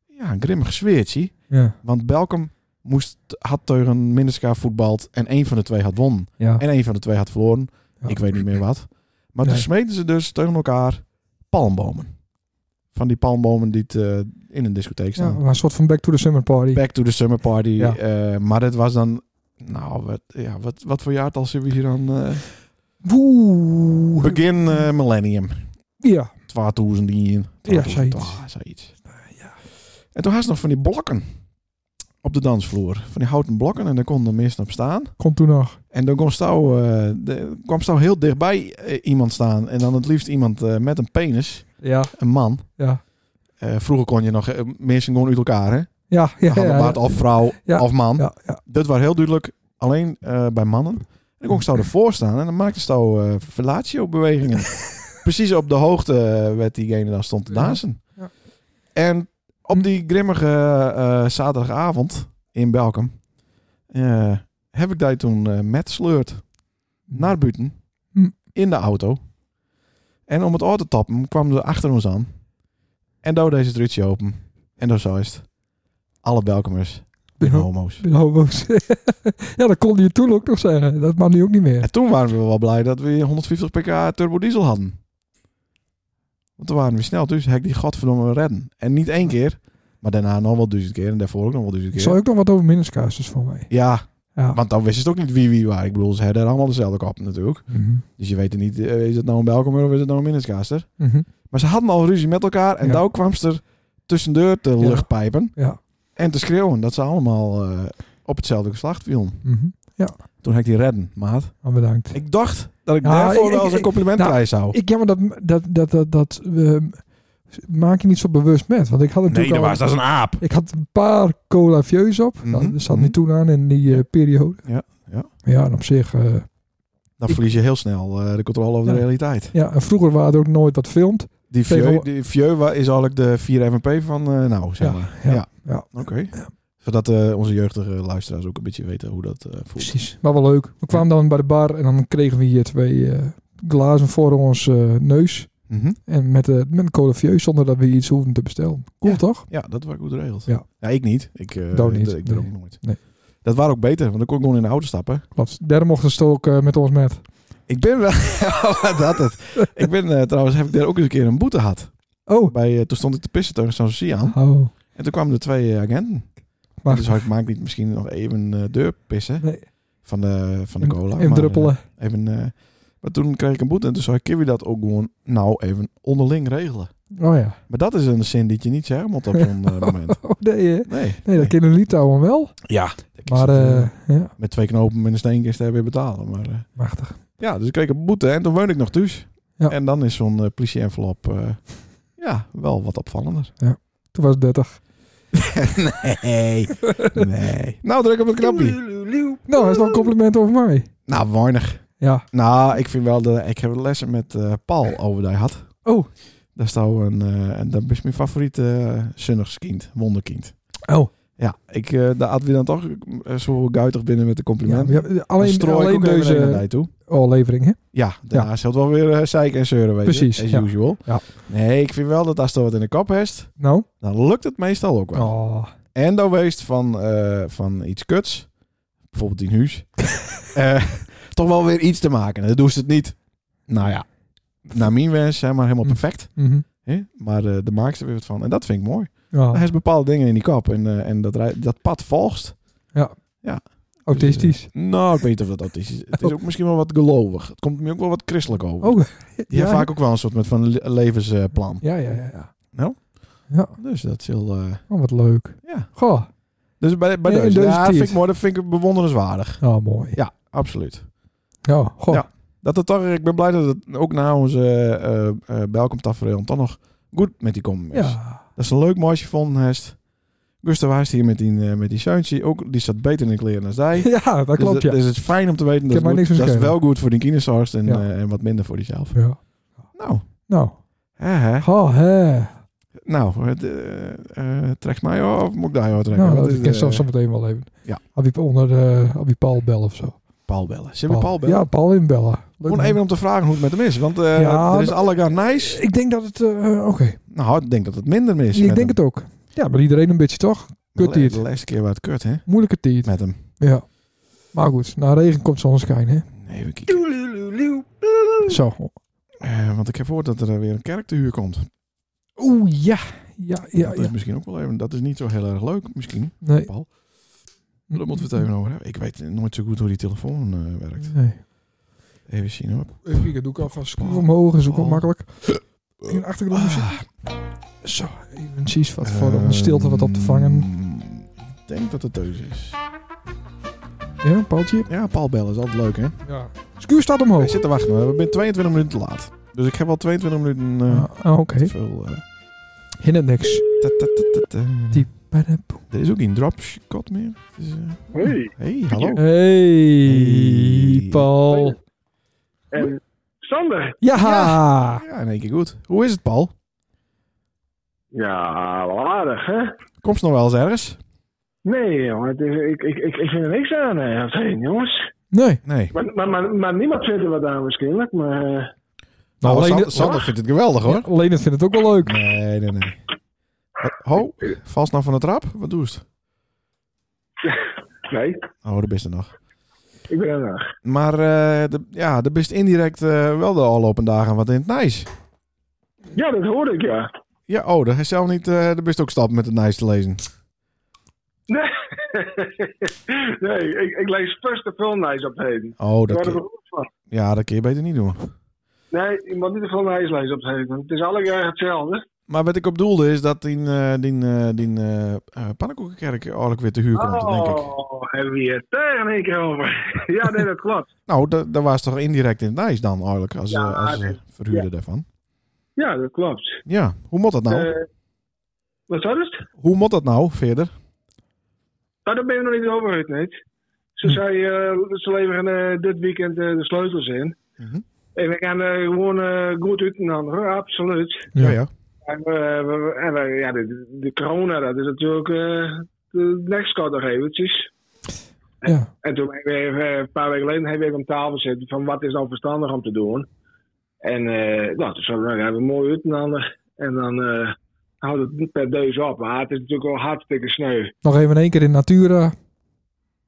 ja, een grimmig zweertje. Ja. Want Belkom moest, had tegen Minneska voetbald en één van de twee had won. Ja. En één van de twee had verloren. Ja. Ik weet niet meer wat. Maar Nee. toen smeten ze dus tegen elkaar palmbomen. Van die palmbomen die het, eh, in een discotheek Ja, staan. maar een soort van back to the summer party. Back to the summer party. Ja. eh, maar dat was dan... Nou, wat, ja, wat, wat voor jaartal zitten we hier aan? eh? Woe. begin eh, millennium. Ja. 2010. Ja, 2012, zoiets. ah, Nou, zoiets. En toen had ze nog van die blokken op de dansvloer. Van die houten blokken. En daar kon de mensen op staan. Komt toen nog. En dan kwam Stouw, eh, de- kwam Stouw heel dichtbij eh, iemand staan. En dan het liefst iemand eh, met een penis, Ja. een man. Ja. Eh, vroeger kon je nog eh, mensen gewoon uit elkaar, hè? Ja. Dan Ja. Ja. hadden Ja. maat of vrouw Ja. of man. ja, ja. Dat was heel duidelijk alleen eh, bij mannen. En dan kon Stouw ervoor staan en dan maakte Stouw eh fellatio-bewegingen. Precies op de hoogte eh, werd diegene dan stond te Ja. dansen. Ja. En op die grimmige eh, zaterdagavond in Belkum... eh, heb ik daar toen eh, met sleurt naar buiten. Hm. In de auto. En om het oor te tappen kwam ze achter ons aan. En daar deze het ritje open. En daar zo is het. Alle Belkomers Bin en ho- homo's. bin homo's. ja, dat kon je toen ook nog zeggen. Dat mag nu ook niet meer. En toen waren we wel blij dat we 150 pk turbo diesel hadden. Want toen waren we snel, dus hek die godverdomme redden. En niet één keer, maar daarna nog wel duizend keer. En daarvoor ook nog wel duizend Ik keer. zou ook nog wat over minuscasus voor mij. Ja, Ja. want dan wist je het ook niet wie wie waren. Ik bedoel, ze hadden allemaal dezelfde kap natuurlijk. Mhm. Dus je weet het niet, eh, is het nou een Belkomer of is het nou een Minneskaster? Mhm. Maar ze hadden al ruzie met elkaar. En Ja. daar kwam ze er tussendoor te Ja. luchtpijpen. Ja. En te schreeuwen dat ze allemaal eh, op hetzelfde geslacht vielen. Mhm. Toen heb ik die redden, maat. Ah, bedankt. Ik dacht dat ik Nou, daarvoor ik- wel ik- eens een ik- compliment nou, krijgen zou. Ik, ja, maar dat, dat, dat, dat, dat ehm, maak je niet zo bewust met. Want ik had natuurlijk al... dat is een aap. Ik had een paar cola vieus op. Mhm, Dat zat mhm. niet toen aan in die eh, periode. Ja, ja. Ja, en op zich... eh, Dan Ik- verlies je heel snel eh, de controle over Ja. de realiteit. ja, en vroeger waren er ook nooit wat filmt. Die Tegen- Vieux, die Vieux wa- is eigenlijk de 4 MVP van eh, nou, zeg maar. ja, ja. ja. oké. Zodat eh, onze jeugdige luisteraars ook een beetje weten hoe dat eh, voelt. Precies. Maar wel leuk. We kwamen dan bij de bar en dan kregen we hier twee eh, glazen voor ons eh, neus. Mhm. En met, eh met een cola vieus zonder dat we iets hoeven te bestellen. Cool toch? Ja, dat was goed geregeld. Ja. ik niet. Ik, eh Dat niet, Ik ben nee. ook nooit. Nee. Dat waren ook beter, want dan kon ik gewoon in de auto stappen. Klopt. Derde mochten ze ook eh, met ons met. Ik ben wel... dat het. Ik ben eh, trouwens, heb ik daar ook eens een keer een boete gehad. Oh. Bij, eh, toen stond ik te pissen tegen San Susi aan. Oh. En toen kwamen er twee eh, agenten. Maar- Maar, dus had ik maak niet misschien nog even eh deur pissen Nee. van de, van de Even- cola. Even maar, druppelen. eh, even, eh, maar toen kreeg ik een boete en toen zei ik, kun je dat ook gewoon nou even onderling regelen? Oh ja. Maar dat is een zin die je niet zeggen moet op zo'n eh, moment. Oh nee, hè? Nee. Nee, dat kinderen Litouwen wel. Ja. Ik Maar zat, eh, eh, ja, met twee knopen met een steenkist daar weer betalen. Maar, eh, machtig. ja, dus ik kreeg een boete en toen woon ik nog thuis. Ja. En dan is zo'n eh, politie-envelop eh, ja, wel wat opvallender. Toen was het 30. nee, nee. Nou, druk op het knopje. Nou, dat is wel een compliment over mij. Nou, weinig. Ja. Nou, ik vind wel dat ik heb lessen met eh, Paul over die had. Oh. Dat is nou een, eh, en dat is mijn favoriete eh zonnigskind, wonderkind. Oh. Ja, ik, eh daar had we dan toch eh, zo guitig binnen met de complimenten. Ja, ja, alleen- Dan strooi ik alleen ook even deze- een naar die toe. Aflevering, hè? Ja, daarna is het wel weer eh, zeiken en zeuren, weet Precies, je. As ja. usual. Ja. Nee, ik vind wel dat als er wat in de kop heeft, Nou. dan lukt het meestal ook wel. Oh. En dan weest van, eh, van iets kuts, bijvoorbeeld in huis, eh, toch wel weer iets te maken. Dat doen ze het niet. Nou ja, naar mijn wens, zeg maar, helemaal Mm. perfect. Mhm. Hè? Maar eh de maakt er weer wat van. En dat vind ik mooi. Ja. Hij is bepaalde dingen in die kop en, eh, en dat, rij- dat pad volgt. Autistisch. Nou, ik weet niet of dat autistisch is. Het is ook misschien wel wat gelovig. Het komt me ook wel wat christelijk over. Oh. Die hebben vaak ook wel een soort met van le- levensplan. Ja, ja, ja. ja. Dus dat is heel... eh, Oh, wat leuk. ja. Goh. Dus bij, bij Ja, deze, deze ja, tiert. vind ik mooi. Dat vind ik bewonderenswaardig. Oh, mooi. Ja, absoluut. Ja, goh. Ja. Dat het toch, ik ben blij dat het ook na onze eh, eh eh Belkom-tafereel toch nog goed met die kom is. Ja. Dat is een leuk meisje van Hest. Gustav was hier met die, eh, met die zoontje. Ook, die zat beter in de kleren dan zij. Ja, dat Dus klopt, ja. dat- Dus het is fijn om te weten dat, heb het mij goed- niks dat is verschenen. wel goed voor die kinderzorg en, Ja. eh, en wat minder voor diezelf. ja. Nou, Nou. hè, hè. Goh, hè. nou het, eh, eh, trekt mij of moet ik daar jou trekken? Nou, Wat dat is eh, ik ken de- zelfs zo meteen wel even. Ja. Heb je onder de... Heb je Paul bellen of zo? Paul bellen. Zullen we Paul bellen? Ja, Paul inbellen. Leuk, Gewoon man. even om te vragen hoe het met hem is. Want eh, Ja, er is dat- allegaar nice. Ik denk dat het... eh, Oké. Nou, ik denk dat het minder mis. Nou, Ik denk het ook. Ja, maar iedereen een beetje, toch? kut De, hier. de laatste keer was het kut, hè? Moeilijke tijd. Met hem. Ja. Maar goed, na regen komt zonneschijn, hè? Even kijken. Toedeloeloe. Zo. Eh, want ik heb gehoord dat er eh, weer een kerk te huur komt. Oeh, ja. Ja, ja, dat ja. is misschien ook wel even. Dat is niet zo heel erg leuk, misschien. Nee. Paul. Daar moeten we het even over hebben. Ik weet nooit zo goed hoe die telefoon eh, werkt. Nee. Even zien hoor. Even kijken, doe ik alvast schuif omhoog, is ook wel Oh. makkelijk. In de achtergrond Ah, Zo, even precies wat voor om ehm, de stilte wat op te vangen. Ik denk dat het deus is. Ehm. Ja, paaltje. Ja, Paul bellen is altijd leuk hè. Ja. Schuur staat Wij omhoog. zitten wachten. hoor. We zijn 22 minuten te laat. Dus ik heb al 22 minuten eh, Ah, ah, Oké, te okay. veel. eh, hindert niks. ta- ta- ta- ta- ta. Die- Badaboom. Er is ook geen dropshot meer. Het is, eh, Hey. hey, hallo. Hey, Paul. En Sander. Ja! Ja, in één keer goed. Hoe is het, Paul? Ja, wel aardig, hè? Komt ze nog wel eens ergens? Nee, jongen, het is- ik, ik, ik, ik vind er niks aan, hè, aan het heen, jongens. Nee. Nee. Maar, maar, maar, maar niemand vindt er wat aan, waarschijnlijk. Maar eh, Nou, alleen- Sander, Sander vindt het geweldig hoor. Ja, Leonard vindt het ook wel leuk. Nee, nee, nee. Wat- Ho, vast nou van de trap? Wat doe je? nee, Oh, daar bist er nog. ik ben er nog. Maar eh, de, ja, de bist indirect eh, wel de afgelopen dagen wat in het nice. Ja, dat hoorde ik, ja. Ja, oh, daar is zelf niet. eh de bist ook stap met het nice te lezen. Nee, nee ik, ik lees first de filmlijst op het heden. Oh, dat Daar word ik kun, goed van. ja, dat kun je beter niet doen. Nee, je moet niet de filmlijst lezen op het heden. Het is alle jaar hetzelfde. Maar wat ik op doelde is dat die, eh die, eh, die eh eh, pannenkoekenkerk eigenlijk weer te huur komt, denk ik. Oh, hebben we hier tegen één keer over. ja, nee, dat klopt. Nou, da- daar was toch indirect in het nice dan eigenlijk, als, Ja, eh, als eh, nee. verhuurder daarvan. Ja, dat klopt. Ja, hoe moet dat nou? Eh, wat zou dat? hoe moet dat nou verder? Nou, daar ben je nog niet over uit, nee. Hm. Ze zei, eh, ze leveren eh, dit weekend eh, de sleutels in. Mhm. En we gaan eh, gewoon eh, goed uit en hoor, absoluut. Ja, ja. En, eh, we- we- en we- ja, de, de corona, dat is natuurlijk eh de next cut nog eventjes. Ja. En toen ben ik weer, eh, een paar weken geleden hebben we om tafel zitten van wat is dan verstandig om te doen. En eh nou, toen zullen we hebben mooi uit en ander. En dan eh, houdt het niet per deus op. Maar het is natuurlijk wel hartstikke sneu. Nog even in één keer in Natura.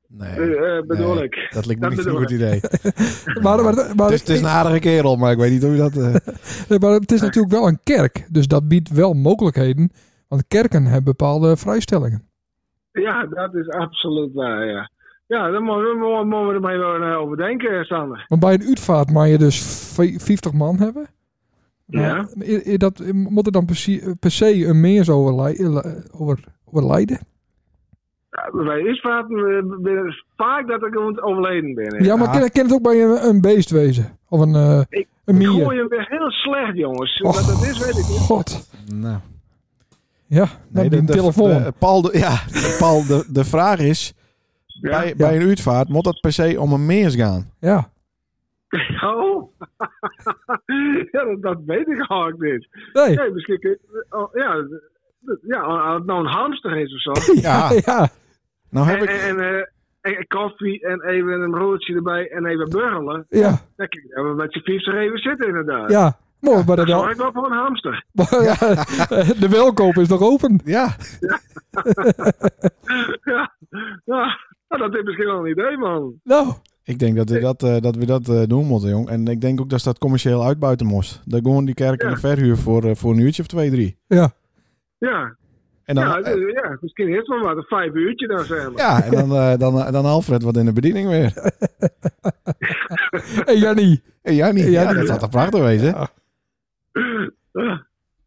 Nee, Eh, eh, bedoel Nee. ik. dat lijkt me dat niet zo'n bedoel goed idee. Maar, maar, maar, Het is, het is een aardige kerel, maar ik weet niet hoe je dat... eh, Nee, maar het is natuurlijk wel een kerk. Dus dat biedt wel mogelijkheden. Want kerken hebben bepaalde vrijstellingen. Ja, dat is absoluut waar, ja. Ja, daar moeten we, mo- moeten we er maar even eh, over denken, Sander. Want bij een uitvaart mag je dus v- 50 man hebben. Ja. Maar i- i- dat, moet er dan per se, per se een meers overlij- eh, over, overlijden? Ja, Bij Isvaart ben ik vaak dat ik gewoon overleden ben. hè. Ja, maar Ja. kan, kan het ook bij een, een beest wezen? Of een, eh, Ik- een Ik mier? gooi hem weer heel slecht, jongens. Och, Wat dat is, weet ik niet. God. nou, Ja, nee, de- die de- telefoon. de- Paul, de, ja, de- Paul de, de vraag is, Ja. bij, bij een uitvaart moet dat per se om een meers gaan? ja. Oh. ja, dat, dat weet ik al niet. Nee. Nee, misschien... kun je- oh, ja, d- ja, als het nou een hamster is of zo. Ja, Ja. nou heb En, ik... en, eh, en- en koffie en even een broodje erbij en even burgelen. Ja. Dan kun je met je vijf er even zitten, inderdaad. Ja. Mooi, maar Dat dat wel. zorg ik wel voor een hamster. Ja, de welkoop is nog open. Ja, Ja, ja. Nou, dat is misschien wel een idee, man. Nou. ik denk dat we dat, eh, dat, we dat eh, doen moeten, jong. En ik denk ook dat ze dat commercieel uitbuiten moest. Dat gewoon die kerk in de verhuur voor, eh, voor een uurtje of twee, drie. Ja. Ja, En dan, ja, eh, ja misschien heeft het wel wat, een vijf uurtje dan, zeg maar. ja, en dan, eh, dan, dan Alfred wat in de bediening weer. Hey, Jannie. Hey, jij niet? Ja, Eh, Ja, die- dat zou toch prachtig wezen? Ja. Ja,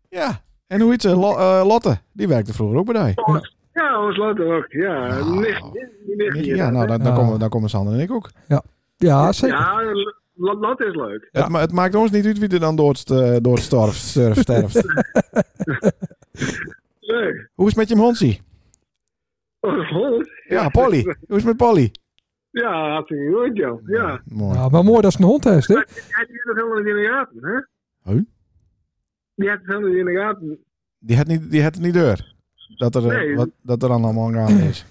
Ja. En hoe heet ze? Lo- eh, Lotte. Die werkte vroeger ook bij die. ons, ja, ons land ook. Ja, Nou. nicht, die nicht hier. Ja, nou, dan, dan, Ja. komen, dan komen Sander en ik ook. Ja, Ah, zeker. ja dat, dat is leuk. Het, ma- het maakt ons niet uit wie er dan door het, eh, door het storf, surf, sterft. Leuk. Hoe is het met je hondsie? Oh, goed. Ja, Polly. Hoe is het met Polly? Ja, hartstikke goed, joh. Ja. Mooi. Ja, maar mooi dat ze een hond heeft, hè? Hij heeft het helemaal niet in de gaten, hè? Huh? Die had het helemaal niet in de gaten. Die had niet, die had niet deur. Dat er, eh, Nee. wat, dat er dan allemaal gaande is.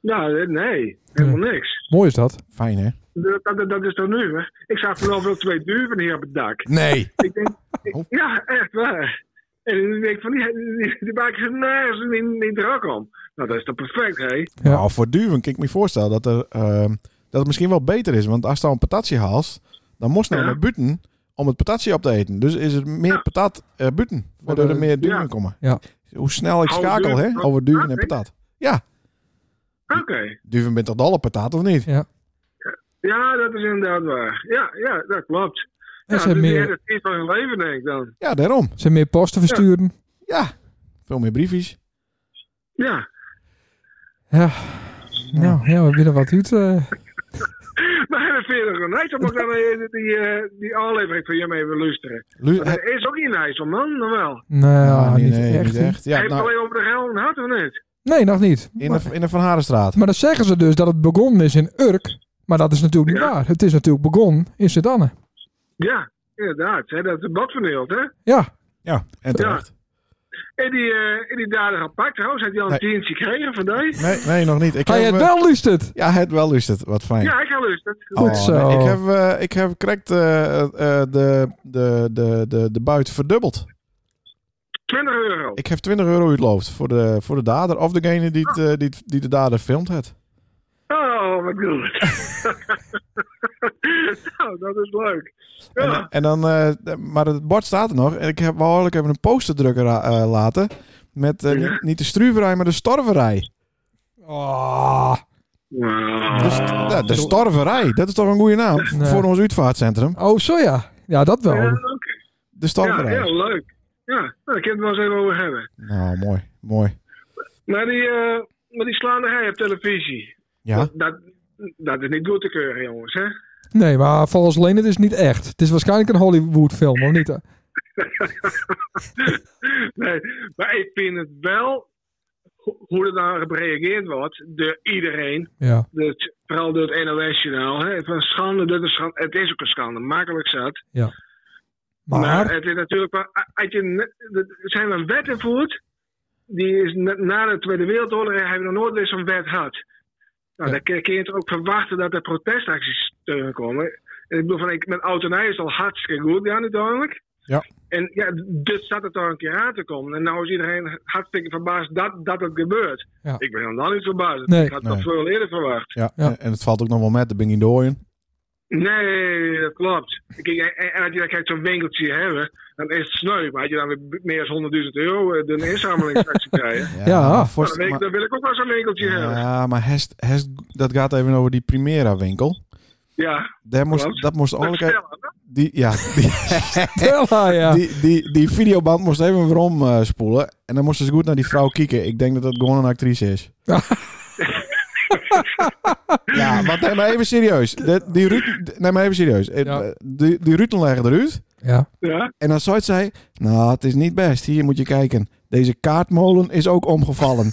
Nou, nee. Helemaal niks. Mooi is dat. Fijn, hè? Dat, dat, dat is toch nu, hè? Ik zag vanaf ook twee duiven hier op het dak. Nee. Ik denk, ik- Oh. ja, echt waar. En ik denk van, die, die, die maken ze nergens niet, niet druk om. Nou, dat is toch perfect, hè? Ja. Nou, voor duwen kan ik me voorstellen dat er, ehm, dat het misschien wel beter is. Want als je dan een patatje haalt, dan moest je Ja. naar buiten om het patatje op te eten. Dus is het meer Ja. patat eh, buiten, waardoor er meer duwen komen. Ja. Hoe snel ik Oude schakel duven, hè, dat- over duwen en dat weet patat. Ja, Oké. duven bent toch al een patat of niet? Ja, dat is inderdaad waar. Ja, ja dat klopt. En ja, ze hebben dus die meer, heeft het eerst van hun leven, denk ik dan. Ja, daarom. ze hebben meer posten versturen. Ja, veel meer briefjes. Ja. Ja. Nou, ja, we willen wat uit. eh. Maar dat vind je toch wel nice om ook dan eh, die, eh, die aflevering van je mee te luisteren. Lu- Dat is ook niet nice om man, dan wel. nou, Ah, nee, niet, nee, echt, niet echt. Ja, Heeft nou, alleen over de helden had of niet? Nee, nog niet. in, maar, de, in de Van Harenstraat. maar dan zeggen ze dus dat het begonnen is in Urk. Maar dat is natuurlijk niet Ja. waar. Het is natuurlijk begonnen in Sedanne. Ja, inderdaad. Hè, dat is een bad verneeld, hè? Ja, Ja, en terecht. En die, eh, en die daden gepakt, trouwens. Heeft hij al een tientje gekregen vandaag? Nee, nee, nog niet. Ik ga je heb, het eh, wel luistert? Ja, het wel is het. Wat fijn. Ja, ik ga luisteren. Goed Oh, zo. nee, ik heb, eh, ik heb correct eh, eh, de, de, de, de, de buit verdubbeld. 20 euro. Ik heb 20 euro uitloofd voor de, voor de dader. Of degene die, het, eh, die, het- die de dader filmt het. Oh, wat goed. nou, dat is leuk. En, Ja, en dan, eh, maar het bord staat er nog. En ik heb wel eigenlijk even een poster drukken ra- eh, laten. Met eh, niet, niet de struverij, maar de storverij. Oh, Nou. De, st- Dus, Ah. ja, de storverij, dat is toch een goede naam Nee. voor ons uitvaartcentrum. oh zo ja. Ja, dat wel. Oh, ja, Ja, oké. De ja, storverij. ja, leuk. Ja, nou, daar kan het wel eens even over hebben. Nou, mooi, mooi. Maar die, eh maar die slaanderij op televisie, Ja, dat, dat, dat is niet goed te keuren, jongens. Hè? Nee, maar volgens Leen het is niet echt. Het is waarschijnlijk een Hollywood film, of niet? eh? nee, maar ik vind het wel, ho- hoe er dan gereageerd wordt door iedereen, Ja. dus, vooral door het NOS-journaal, hè, van schande, dat is schande. Het is ook een schande, makkelijk zat. Maar, Maar het is natuurlijk wel. Als je, ne- er zijn wel wetten voert. Die is na, na de Tweede Wereldoorlog hebben we nog nooit weer zo'n wet gehad. Nou, Ja. dan kun je- kun je toch ook verwachten dat er protestacties terugkomen. En ik bedoel, van, ik, met autonij is al hartstikke goed gedaan uiteindelijk. Ja. En ja, dus zat het al een keer aan te komen. En nou is iedereen hartstikke verbaasd dat, dat het gebeurt. Ja. Ik ben dan dan niet verbaasd. Nee. Ik had dat Nee. veel eerder verwacht. ja. Ja. En, en het valt ook nog wel met, de Bing in de hooien. Nee, dat klopt. Kijk, en, en als je dan kijkt zo'n winkeltje hebben, dan is het sneu. Maar als je dan weer b- meer dan 100.000 euro eh, de inzamelingsactie krijgt, Ja, Ja. maar dan, voorst- wil ik- maar- dan wil ik ook wel zo'n winkeltje hebben. ja, maar hest, hest, dat gaat even over die Primera winkel. Ja, Daar moest, Klopt. dat moest dat eigenlijk vertellen. hè? die, ja, die, Stella, ah, ja. die, die, die videoband moest even weer omspoelen. en dan moesten ze goed naar die vrouw kijken. Ik denk dat dat gewoon een actrice is. ja, want neem maar even serieus. De, die Ruud, neem maar even serieus. Eh, Ja. Die, die Ruud legde eruit. ja. Ja, En dan zoiets zei, nou, het is niet best. Hier moet je kijken. Deze kaartmolen is ook omgevallen.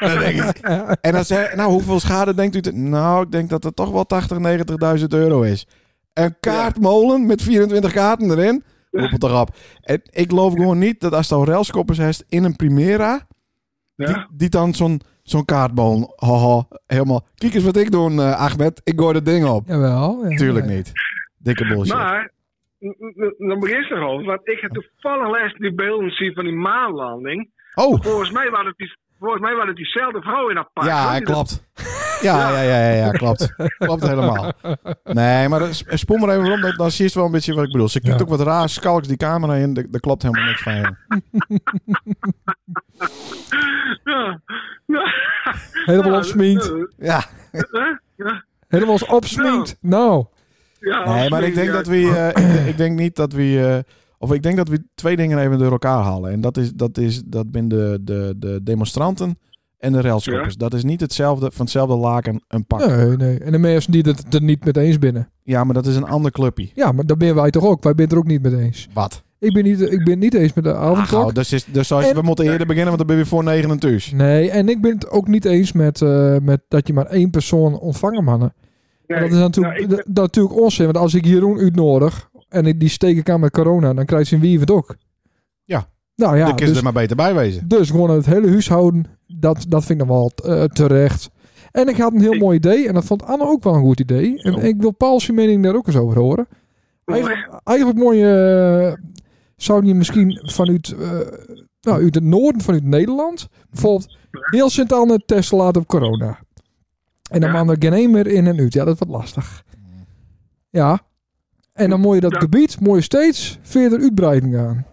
Dan denk ik- en dan zei, nou, hoeveel schade denkt u? Te, nou, ik denk dat het toch wel 80, 90.000 euro is. Een kaartmolen met 24 kaarten erin. Roep het toch op. En ik geloof gewoon niet dat als je al railskoppers hebt in een Primera, die, ja. die dan zo'n zo'n kaartmolen, haha, helemaal. Kijk eens wat ik doe, eh, Ahmed. Ik gooi dat ding op. Jawel. Ja. Tuurlijk niet. Dikke bullshit. Maar, n- n- n- dan begint het erover, want ik heb toevallig laatst die beelden zien van die maanlanding. oh, Volgens mij waren het die, volgens mij waren het diezelfde vrouw in dat park. hoor, Ja, die dat- klopt. Ja, ja, ja, ja, ja, klopt. Klopt helemaal. Nee, maar dat- spoel maar even om, dan- dan zie je wel een beetje wat ik bedoel. Ze kijkt Ja. ook wat raar, skalks die camera in, daar daar klopt helemaal niks van. joh. Ja. Ja. Helemaal Ja, opsminkt. Ja, eh, Ja. Helemaal eens opsminkt. Nou. Ja, nee, maar ik denk ja. dat we, eh, ik, denk- ik denk niet dat we, eh, of ik denk dat we twee dingen even door elkaar halen. En dat is, dat is, dat zijn de, de, de demonstranten en de railschoppers. Dat is niet hetzelfde, van hetzelfde laken een pak. Nee, nee. En de mensen die het er niet met eens binnen. Ja, maar dat is een ander clubje. Ja, maar dat ben wij toch ook. Wij zijn het er ook niet mee eens. Wat? Ik ben niet, ik ben niet eens met de Ach, avondklok. nou, dus is, dus als- En- we moeten eerder beginnen, want dan ben je voor negen en thuis. Nee, en ik ben het ook niet eens met, eh, met dat je maar één persoon ontvangen mannen. Nee, dat is natuurlijk, nou, ik- dat, dat is natuurlijk onzin. Want als ik Jeroen uitnodig en ik- die steek ik aan met corona, dan krijgt ze een wie het ook. Ja. Nou ja, dan kun je dus, er maar beter bij wezen. dus gewoon het hele huishouden, dat, dat vind ik dan wel eh, terecht. En ik had een heel Ik- Oh. mooi idee en dat vond Anne ook wel een goed idee. En ik wil Paul's mening daar ook eens over horen. Eigenlijk, eigenlijk mooi, eh, zou je misschien vanuit, eh, nou, uit het noorden, vanuit Nederland, bijvoorbeeld heel Sint-Anne testen laten op corona. En dan Ja. man er geen één meer in en uit. Ja, dat wordt lastig. Ja. En dan moet je dat Ja. gebied moet je steeds verder uitbreiden gaan.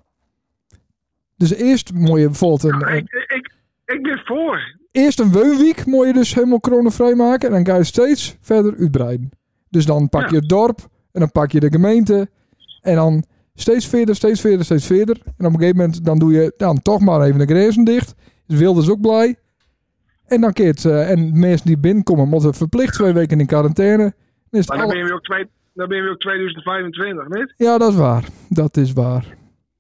Dus eerst moet je bijvoorbeeld een, een- Ik, ik, ik ben voor. eerst een weunwiek moet je dus helemaal coronavrij maken. En dan ga je steeds verder uitbreiden. Dus dan pak je Ja. het dorp en dan pak je de gemeente. En dan steeds verder, steeds verder, steeds verder. En op een gegeven moment dan doe je dan toch maar even de grenzen dicht. Dus Wilders ook blij. En dan keert eh en mensen die binnenkomen moeten verplicht twee weken in quarantaine. Dan is het Maar dan al- ben je weer ook, twee, dan ben je weer ook 2025, niet? Ja, dat is waar. Dat is waar.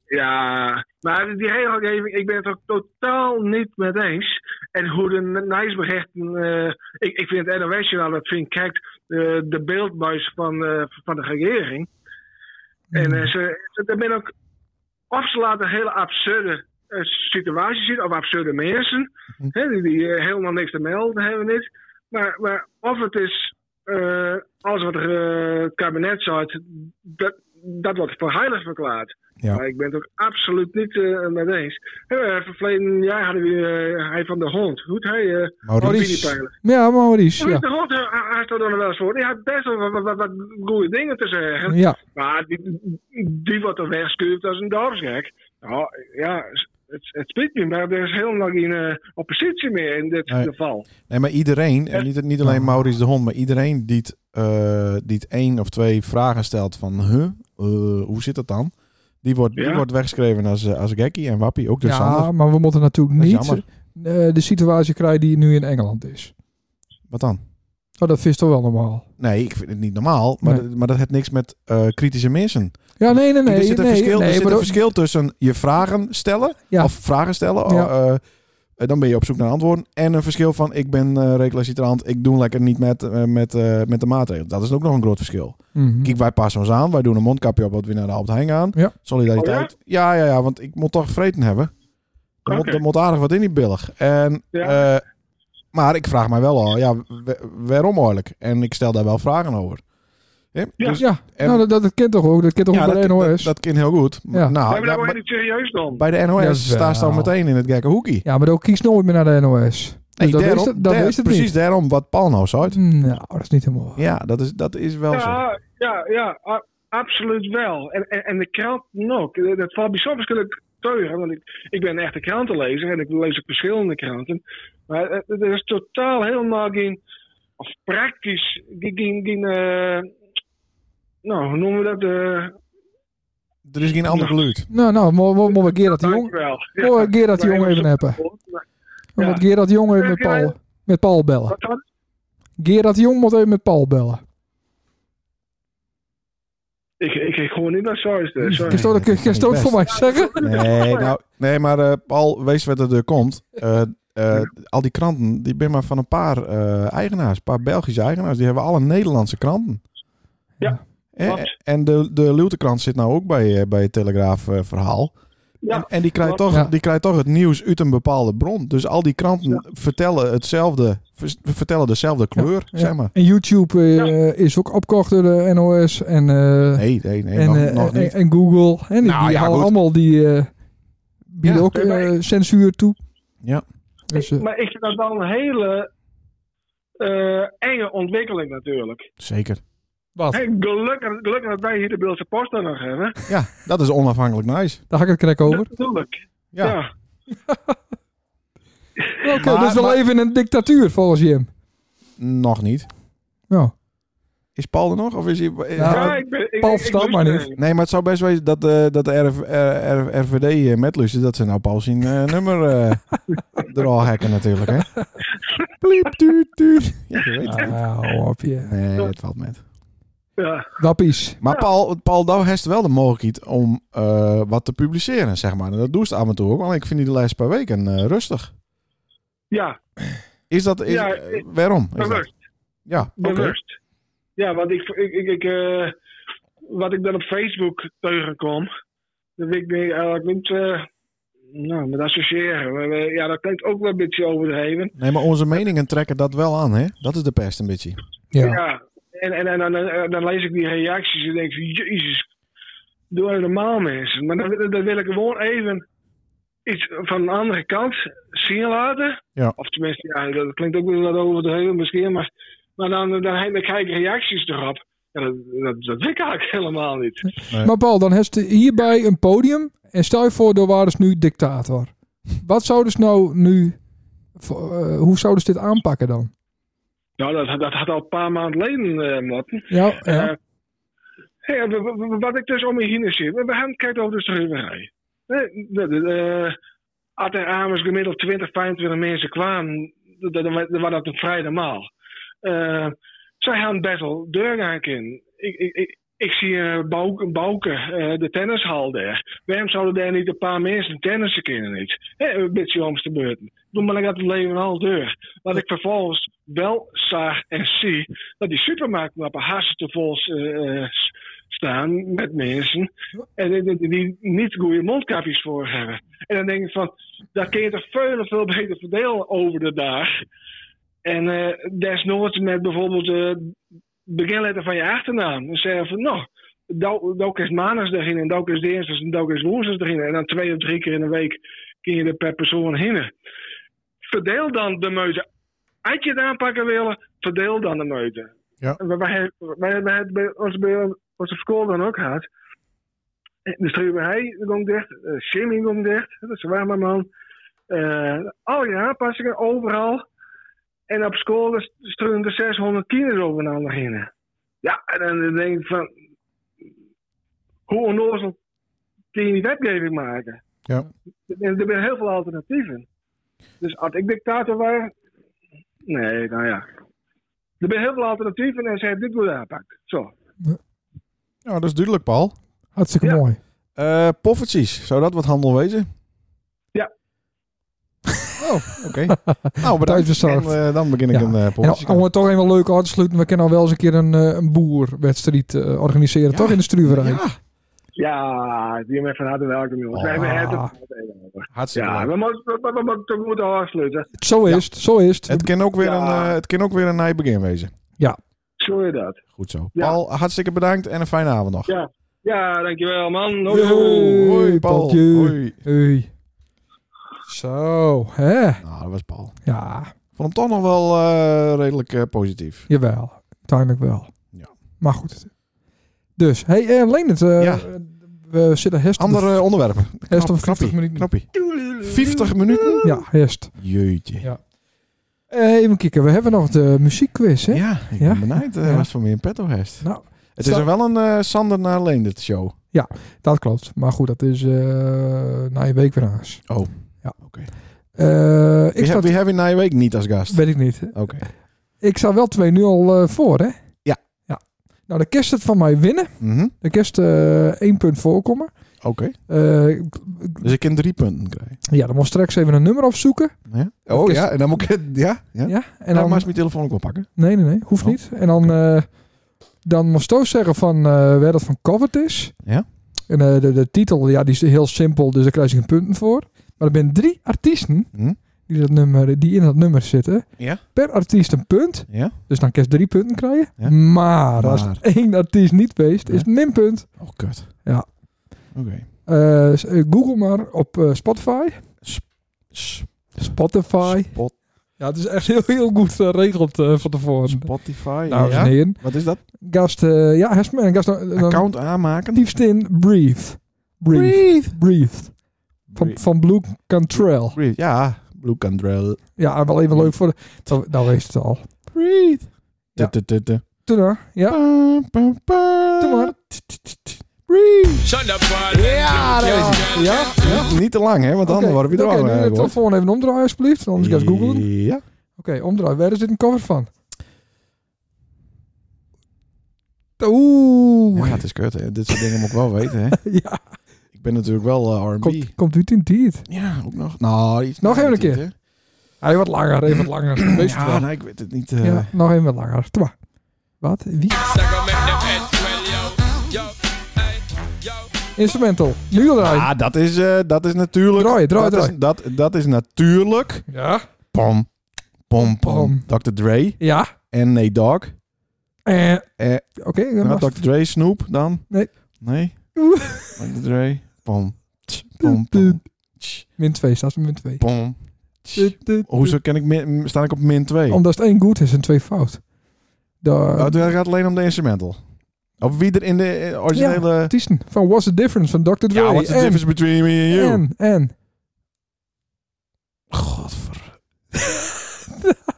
Ja, maar die regelgeving, ik ben het er totaal niet mee eens. En hoe de Nijsbegechten, eh ik, ik vind het NOS-journaal, dat vind ik, kijkt eh, de beeldbuis van, eh, van de regering. En eh, ze, ze daar ben ook, of ze laten hele absurde eh, situaties zien, of absurde mensen, hè, die, die eh, helemaal niks te melden hebben niet. Maar, maar of het is, eh, als wat eh, het kabinet zegt, dat, dat wordt voor heilig verklaard. Ja. Maar ik ben het ook absoluut niet eh mee eens. Eh, verleden jaar hadden we eh, hij van de hond. Hoe heet hij? eh Maurice. Filipijnen. Ja, Maurice. Ja. De hond, eh, hij hij stond er nog wel eens voor. Hij had best wel wat, wat, wat- wat goede dingen te zeggen. ja. Maar die, die wordt er weggestuurd als een dorpsgek. Nou, ja, het, het spijt me, maar er is helemaal geen eh, oppositie meer in dit Nee. Ah, geval. Nee, maar iedereen, en niet, niet alleen Maurice de Hond, maar iedereen die het, eh, die het één of twee vragen stelt van, huh, eh, hoe zit dat dan? Die wordt, die Ja. wordt weggeschreven als, eh, als gekkie en wappie, ook door ja, Sander. maar we moeten natuurlijk Dat is niet jammer. eh, de situatie krijgen die nu in Engeland is. Wat dan? Oh, dat vist toch wel normaal. Nee, ik vind het niet normaal, maar, Nee. dat- maar dat heeft niks met eh, kritische mensen. Ja, nee, nee, nee. er zit, een, nee, verschil, nee, er zit maar een dat- verschil tussen je vragen stellen, Ja. of vragen stellen, Ja. eh, eh, dan ben je op zoek naar antwoorden, en een verschil van ik ben eh recalcitrant, ik doe lekker niet met, eh, met, eh, met de maatregelen. Dat is ook nog een groot verschil. Mhm. Kijk, wij passen ons aan. Wij doen een mondkapje op wat we naar de Albert Heijn gaan. Ja. Solidariteit. ja? ja, ja, want ik moet toch vreten hebben. Er, moet, Oh, Oké. er moet aardig wat in die billig. En, Ja. eh, maar ik vraag mij wel al, ja, wa- waarom eigenlijk? En ik stel daar wel vragen over. Ja, Ja. dus- Ja, en- nou, dat, dat, kent toch ook. Dat kent toch ja, ook bij dat, de dat, NOS. dat kind heel goed. Maar- Ja. Nou, hebben we ja, nou bij, helemaal niet serieus dan? bij de NOS Jawel. staan ze al meteen in het gekke hoekie. ja, maar ook kies nooit meer naar de NOS. Nee, Dus dat daarom- is het, dat daar- is het precies daarom wat Paul nou zei. niet. Nou, dat is niet helemaal waar. Ja, dat is, dat is wel zo. Ja, ja, ja, a- absoluut wel. En, en, en de krant ook. Dat valt bij soms natuurlijk teugen, want ik, ik ben een echte krantenlezer en ik lees ook verschillende kranten. Maar eh, er is totaal helemaal geen, of praktisch, geen, geen, geen, eh, nou, hoe noemen we dat? eh, Er is geen ander geluid. Nou, nou, mo- mo- mo- wat Gerard de Jong, Oh, dankjewel. mo- wat Gerard de Maar Jong even even appen. Mo- Ja. wat Gerard de Jong even met Paul, met Paul bellen. Wat dan? Gerard de Jong moet even met Paul bellen. Ik, ik, ik hoor niet naar Sois. Kun eh, Sorry. je dat- kun je- kun je dat voor mij zeggen? Nee, nou, nee maar eh, Paul, wees wat er eh, komt. Eh, eh, al die kranten, die ben maar van een paar eh, eigenaars, een paar Belgische eigenaars. Die hebben alle Nederlandse kranten. Ja, Eh, klopt. en de, de Luwte-krant zit nou ook bij, eh, bij het Telegraaf-verhaal. Ja, en en die, krijgt klopt. toch, Ja. die krijgt toch het nieuws uit een bepaalde bron. Dus al die kranten vertellen, hetzelfde, ver- vertellen dezelfde kleur, Ja. zeg maar. En YouTube eh, is ook opgekocht door de NOS en, eh, Nee, nee, nee, en, nog, eh, nog en, niet. en Google. En die, Nou, die ja, halen goed. allemaal die eh bieden Ja. ook eh, censuur toe. Ja. Dus, eh, Maar ik vind dat wel een hele eh, enge ontwikkeling natuurlijk. Zeker. wat? Hey, gelukkig, gelukkig dat wij hier de Beeldse Post dan nog hebben. Ja, dat is onafhankelijk nice. Daar hak ik het krek over. Natuurlijk. Ja. Ja. Oké, Maar- dus we maar- leven in een dictatuur volgens Jim. Nog niet. Nou, Is Paul er nog? Of is hij... Ja, Ja, ik ben, ik, Paul ik- ik verstaat luister maar naar niet. je. Nee, maar het zou best wezen dat, eh, dat de RV, eh, R- RVD eh, met luistert, dat ze nou Paul zijn eh, nummer eh er al hacken natuurlijk, hè? Pliep, tuut, tuut. Ja, je weet het. hou op je. Nee, het valt met. Ja. Wappies. Maar Paul, Paul Douw heeft wel de mogelijkheid om eh, wat te publiceren, zeg maar. En dat doe ze af en toe ook, want ik vind die de laatste paar weken eh, rustig. ja, Is dat... Is, Ja, eh, waarom? Is dat? bewust. Ja, oké. Bewust. Ja, want ik, ik, ik, ik, eh, wat ik dan op Facebook tegenkom, dat wil ik me eigenlijk niet eh, nou, met associëren. Maar, eh, ja, dat klinkt ook wel een beetje overdreven. Nee, maar onze meningen trekken dat wel aan, hè? Dat is de pest een beetje. Ja. Ja. En, en, en, dan- eh, dan- dan lees ik die reacties en denk ik, jezus, doe even normaal mensen. Maar dan, dan wil ik gewoon even iets van een andere kant zien laten. Ja. Of tenminste, ja, dat klinkt ook weer wat overdreven misschien, maar, maar dan, dan, dan, dan krijg ik reacties erop. Ja, dat, dat, dat wil ik eigenlijk helemaal niet. Maar Paul, dan heeft hierbij een podium. En stel je voor, er waren ze nu dictator. Wat zouden ze nou nu... voor- eh, hoe zouden ze dit aanpakken dan? Nou, dat, dat had al een paar maanden geleden eh moeten. Ja, ja. Eh, ja, w- w- w- wat ik dus om me heen zie, we we hebben het kijkt over de schrijverij. eh, Als er avonds gemiddeld 20, 25 mensen kwamen, d- d- dan wa- dan was dat een vrij normaal. Eh, zij gaan best wel deurgang in. Ik, ik, ik, ik zie eh Bouke, Bouke, eh, de tennishal daar. Waarom zouden daar niet een paar mensen tennissen kunnen niet? Hè, een beetje om te beurten. Doe maar dat het leven al deur. Wat ik vervolgens wel zag en zie, dat die supermarktmappen hartstikke vol eh, eh, s- staan met mensen. En die- die, die niet goede mondkapjes voor hebben. En dan denk ik van, dat kun je toch veel, veel beter verdelen over de dag. En eh desnoods met bijvoorbeeld de beginletter van je achternaam. En zeggen van, nou, dou- douk is maandags erin en douk is dinsdags en douk is woensdags erin. En dan twee of drie keer in de week kun je er per persoon heen. Verdeel dan de meute. Als je het aanpakken wil, verdeel dan de meute. Ja. We- we- Wij wij- wij hebben bij ons bij onze school dan ook eh, gehad. De strieberij komt dicht, eh, Jimmy komt dicht, dat is waar mijn man. Eh, al je aanpassingen, overal. En op dus school er stroomden er 600 kinderen over naar beginnen. Ja, en dan dan denk ik van... Hoe onnozel kun je die wetgeving maken? Ja. Er, er zijn heel veel alternatieven. Dus als ik dictator was... Nee, nou ja. Er zijn heel veel alternatieven en ze hebben dit goed aanpakt. Zo. Ja, dat is duidelijk, Paul. hartstikke ja. mooi. Eh poffertjes, zou dat wat handel wezen? Ja. Oh, oké. nou, Tijd bedankt. En, bezorgd. eh, dan begin ik Ja. een eh En poffertje. om het toch even leuk aan te sluiten, we kunnen al wel eens een keer een, eh, een boerwedstrijd eh, organiseren, toch in de struwerij. Ja, Ja, die hebben van harte welkom, jongens. Wij hebben het Ah. even over. hartstikke Ja, leuk. we moeten, we, we, we, moeten- we moeten afsluiten. Zo is het, zo is het. Het kan ook weer Ja. een, eh, het kan ook weer een nieuw begin wezen. Sorry dat. Goed zo. Ja. Paul, hartstikke bedankt en een fijne avond nog. Ja. Ja, dankjewel, man. Hoi, Yo. hoi. Hoi, Paul. Paultje. Hoi. Hey. Zo, hè? Nou, dat was Paul. Ja, Ik vond hem toch nog wel eh, redelijk eh, positief. jawel. Uiteindelijk wel. Ja. Maar goed. Dus, hey, eh Leendert, eh, Ja. eh, we zitten herst op de- Andere onderwerpen. herst op Knap- 50 knappie. minuten. Knappie. 50 minuten? Ja, herst. Jeetje. Ja. Eh, even kijken, we hebben nog de muziekquiz, hè? Ja, ik Ja? ben benijd eh, Ja. wat voor meer in petto heeft. Nou, het is zo- er wel een eh, Sander naar Leendert show. Dat klopt. Maar goed, dat is eh, na je week weer aans. Oh. Ja. Oké. Eh, ik Wie, sta... heb- wie hebben we na je week niet als gast? Weet ik niet. Oké. Ik sta wel 2-0 eh, voor, hè? Ja. ja. Nou, dan kerst het van mij winnen. Mhm. Dan kerst eh één punt voorkomen. Oké. Eh, ik- ik- Dus ik kan drie punten krijgen. ja, dan moet ik straks even een nummer opzoeken. Ja? Oh Even- ja, en dan moet ik... het- Ja? ja? Ja. En En dan dan, maar eens mijn telefoon ook wel pakken. nee, nee, nee. Hoeft Oh. niet. En dan, eh, dan moest Toos zeggen van eh, waar dat van covered is. Ja. En eh, de, de titel, ja, die is heel simpel. Dus daar krijg ik een punten voor. Maar er zijn drie artiesten Hm? die, dat nummer, die in dat nummer zitten. Ja. Per artiest een punt. Ja? Dus dan kerst drie punten krijgen. Ja. Maar, als Maar. één artiest niet weest, is Ja. het minpunt. Oh, kut. Ja. Oké. Eh, s- eh, Google maar op eh, Spotify. S- Spotify. Spot- Ja, het is echt heel, heel goed geregeld eh, van tevoren. Nou, Spotify. Dames ja. en heren. Wat is dat? Gast, eh, ja, gast, eh, gast dan, dan Account aanmaken? diepst in Breathe. Breathe. Breathe. Breathe. Van, Breathe. van Blue Cantrell. Breathe. Ja. Blue Candrel. Ja, wel even leuk voor de... Nou, nou wees het al. Breathe. Ja. Tutututu. Toen dan, ja. Pa, pa, pa. Doe maar. Tutututu. Breathe. Ja, dat is het. Ja, ja. Niet te lang, hè? Want anders Oké, worden we er oké, al. doe eh, de Bart. telefoon even omdraaien, alsjeblieft. Anders ga ik googlen. Oké, Ja. omdraaien. Waar is dit een cover van? Oeh. Ja, Ja, het is kut, hè? Dit soort dingen moet ik wel weten, hè? Ik ben natuurlijk wel eh, R&B. komt, komt u in dit? Ja, ook nog. Nou, iets Nog na even dit, een keer. hè? Hij wat langer, even wat langer. Wees het Ja, wel. nee, ik weet het niet. eh. Ja, nog even wat langer. Twa. Wat? Wie? Instrumental. Nu al draaien. Ah, dat is, eh, dat is natuurlijk. Draai, draai, dat, Is, draai. dat, dat is natuurlijk. Ja. Pom, pom, pom. Dr. Dre Ja. en Nate Dogg. Eh, Eh, Oké, dan nou, was Dr. Dre, Snoop dan? Nee. Nee? Oeh. Dr. Dre. Pom, tch, pom, pom, tch, min 2, staat ze min 2. pom, Dit, dit, Hoezo ken ik min, sta ik op min 2? Omdat het één goed is en twee fout. Oh, De het gaat alleen om de instrumental. Of wie er in de eh, originele... Ja, artiesten van What's the Difference van Dr. Dre. what's the en, difference between me and you? En, en. Godver...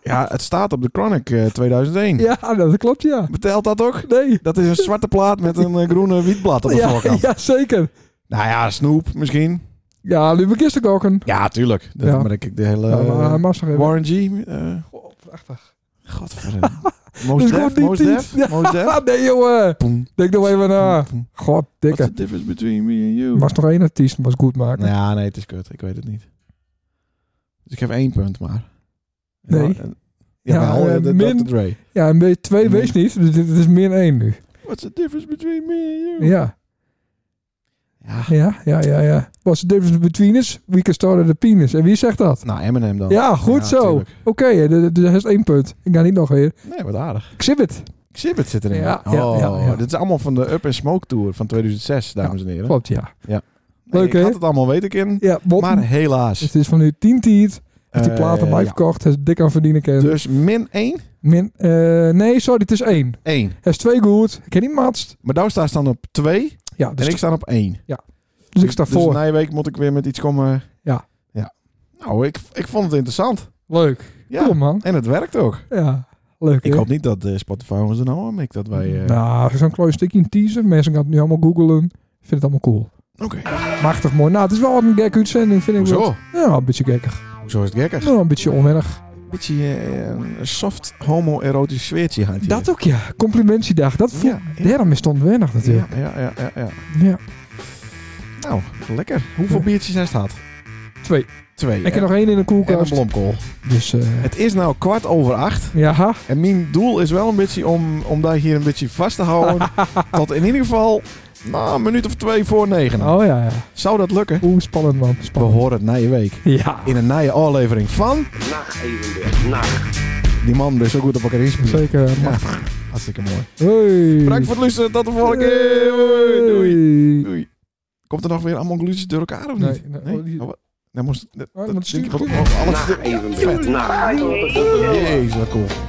ja, het staat op de Chronic eh, 2001. Ja, dat klopt, ja. Betelt dat ook? Nee. Dat is een zwarte plaat met een eh, groene wietblad op de Ja, voorkant. ja, zeker. Nou ja, Snoop misschien. Ja, Lubbe Kisterkoken. Ja, tuurlijk. Dat Ja. merk ik de hele... ja, maar hij mag nog eh, even. Warren G. eh, Oh, prachtig. Godverdomme. Mos Dus gewoon Def, die Mos tiet. Def, Ja. Mos Def. Ah, nee, jongen. Poem, Denk nog even na. poem, poem. God, What's dikke. the difference between me and you? Er was nog één artiest, was goed maken. Nou ja, nee, het is kut. Ik weet het niet. Dus ik heb één punt maar. En Nee. dan- en- Ja, Ja, wel, eh, eh, de min- Dr. Dre. Ja, en weet- twee Nee. wees niet. Dus dit dit is min één nu. What's the difference between me and you? Ja, Ja. ja, ja, ja. ja. What's the difference between us? We can start at the penis. En wie zegt dat? Nou, Eminem dan. Ja, goed Ja, zo. tuurlijk. Oké, dus dat is één punt. Ik ga niet nog weer. Nee, wat aardig. Exhibit. Xzibit zit erin. Ja, oh, ja, ja, ja. Dit is allemaal van de Up and Smoke Tour van 2006, dames en heren. Klopt, ja. Nee, Leuk, Ik hè? had het allemaal weten, kind. Ja, Bob. Maar helaas. het is van nu 10 tiert. Heeft die Eh, platen erbij ja. verkocht. Hij is dik aan verdienen. Ken. Dus min 1, Min, eh, nee, sorry, het is één. 1. Hij is twee goed. Ik ken niet matst. Maar daar staat dan op 2 Ja, dus, en ik sta op 1. dus ik sta dus voor. Dus na week moet ik weer met iets komen. eh, Ja. ja. Nou, ik, ik vond het interessant. Leuk. Ja. Cool, man. En het werkt ook. Ja, leuk. Ik hè? hoop niet dat eh, Spotify ons er nou aan mikt dat wij... eh, Nou, zo'n klein stukje in teaser. Mensen gaan het nu allemaal googlen. Ik vind het allemaal cool. Oké. Machtig mooi. Nou, het is wel een gekke uitzending, vind ik. wel. Hoezo? Ja, een beetje gekkig. Hoezo is het gekker? Nou, een beetje onwennig. Een beetje eh, een soft homoerotisch sfeertje hangt hier. Dat ook, ja. Complimentiedag. Dat voelt... Ja, ja. Daarom is het onwennig Ja, natuurlijk. ja, ja, ja, ja. Ja. Nou, lekker. Hoeveel Ja. biertjes hij staat? Twee. Twee. Ik heb En- nog één in de en een koelkast. blomkool. Dus, eh Het is nou kwart over acht. ja. En mijn doel is wel een beetje om, om daar hier een beetje vast te houden. tot in ieder geval nou, een minuut of twee voor negen. Oh ja, ja. Zou dat lukken? Oeh, spannend man. We Spannend. horen het na je week. Ja. In een nieuwe aflevering van... Nacht Evenbeeld. Nacht. Die man is zo goed op elkaar inspelen. Zeker. Ja. man. Hartstikke mooi. Hoi. Bedankt voor het luisteren. Tot de volgende keer. Hoi, Doei. Doei. Doei. Komt er nog weer allemaal gluutjes door elkaar of Nee, niet? nee. Nee? Oh, die- Oh, wat? Nou, moest... Dat, maar dat het denk ik stuurt wel- oh, alles... Nacht Evenbeeld. Nacht. Jezus, wat cool.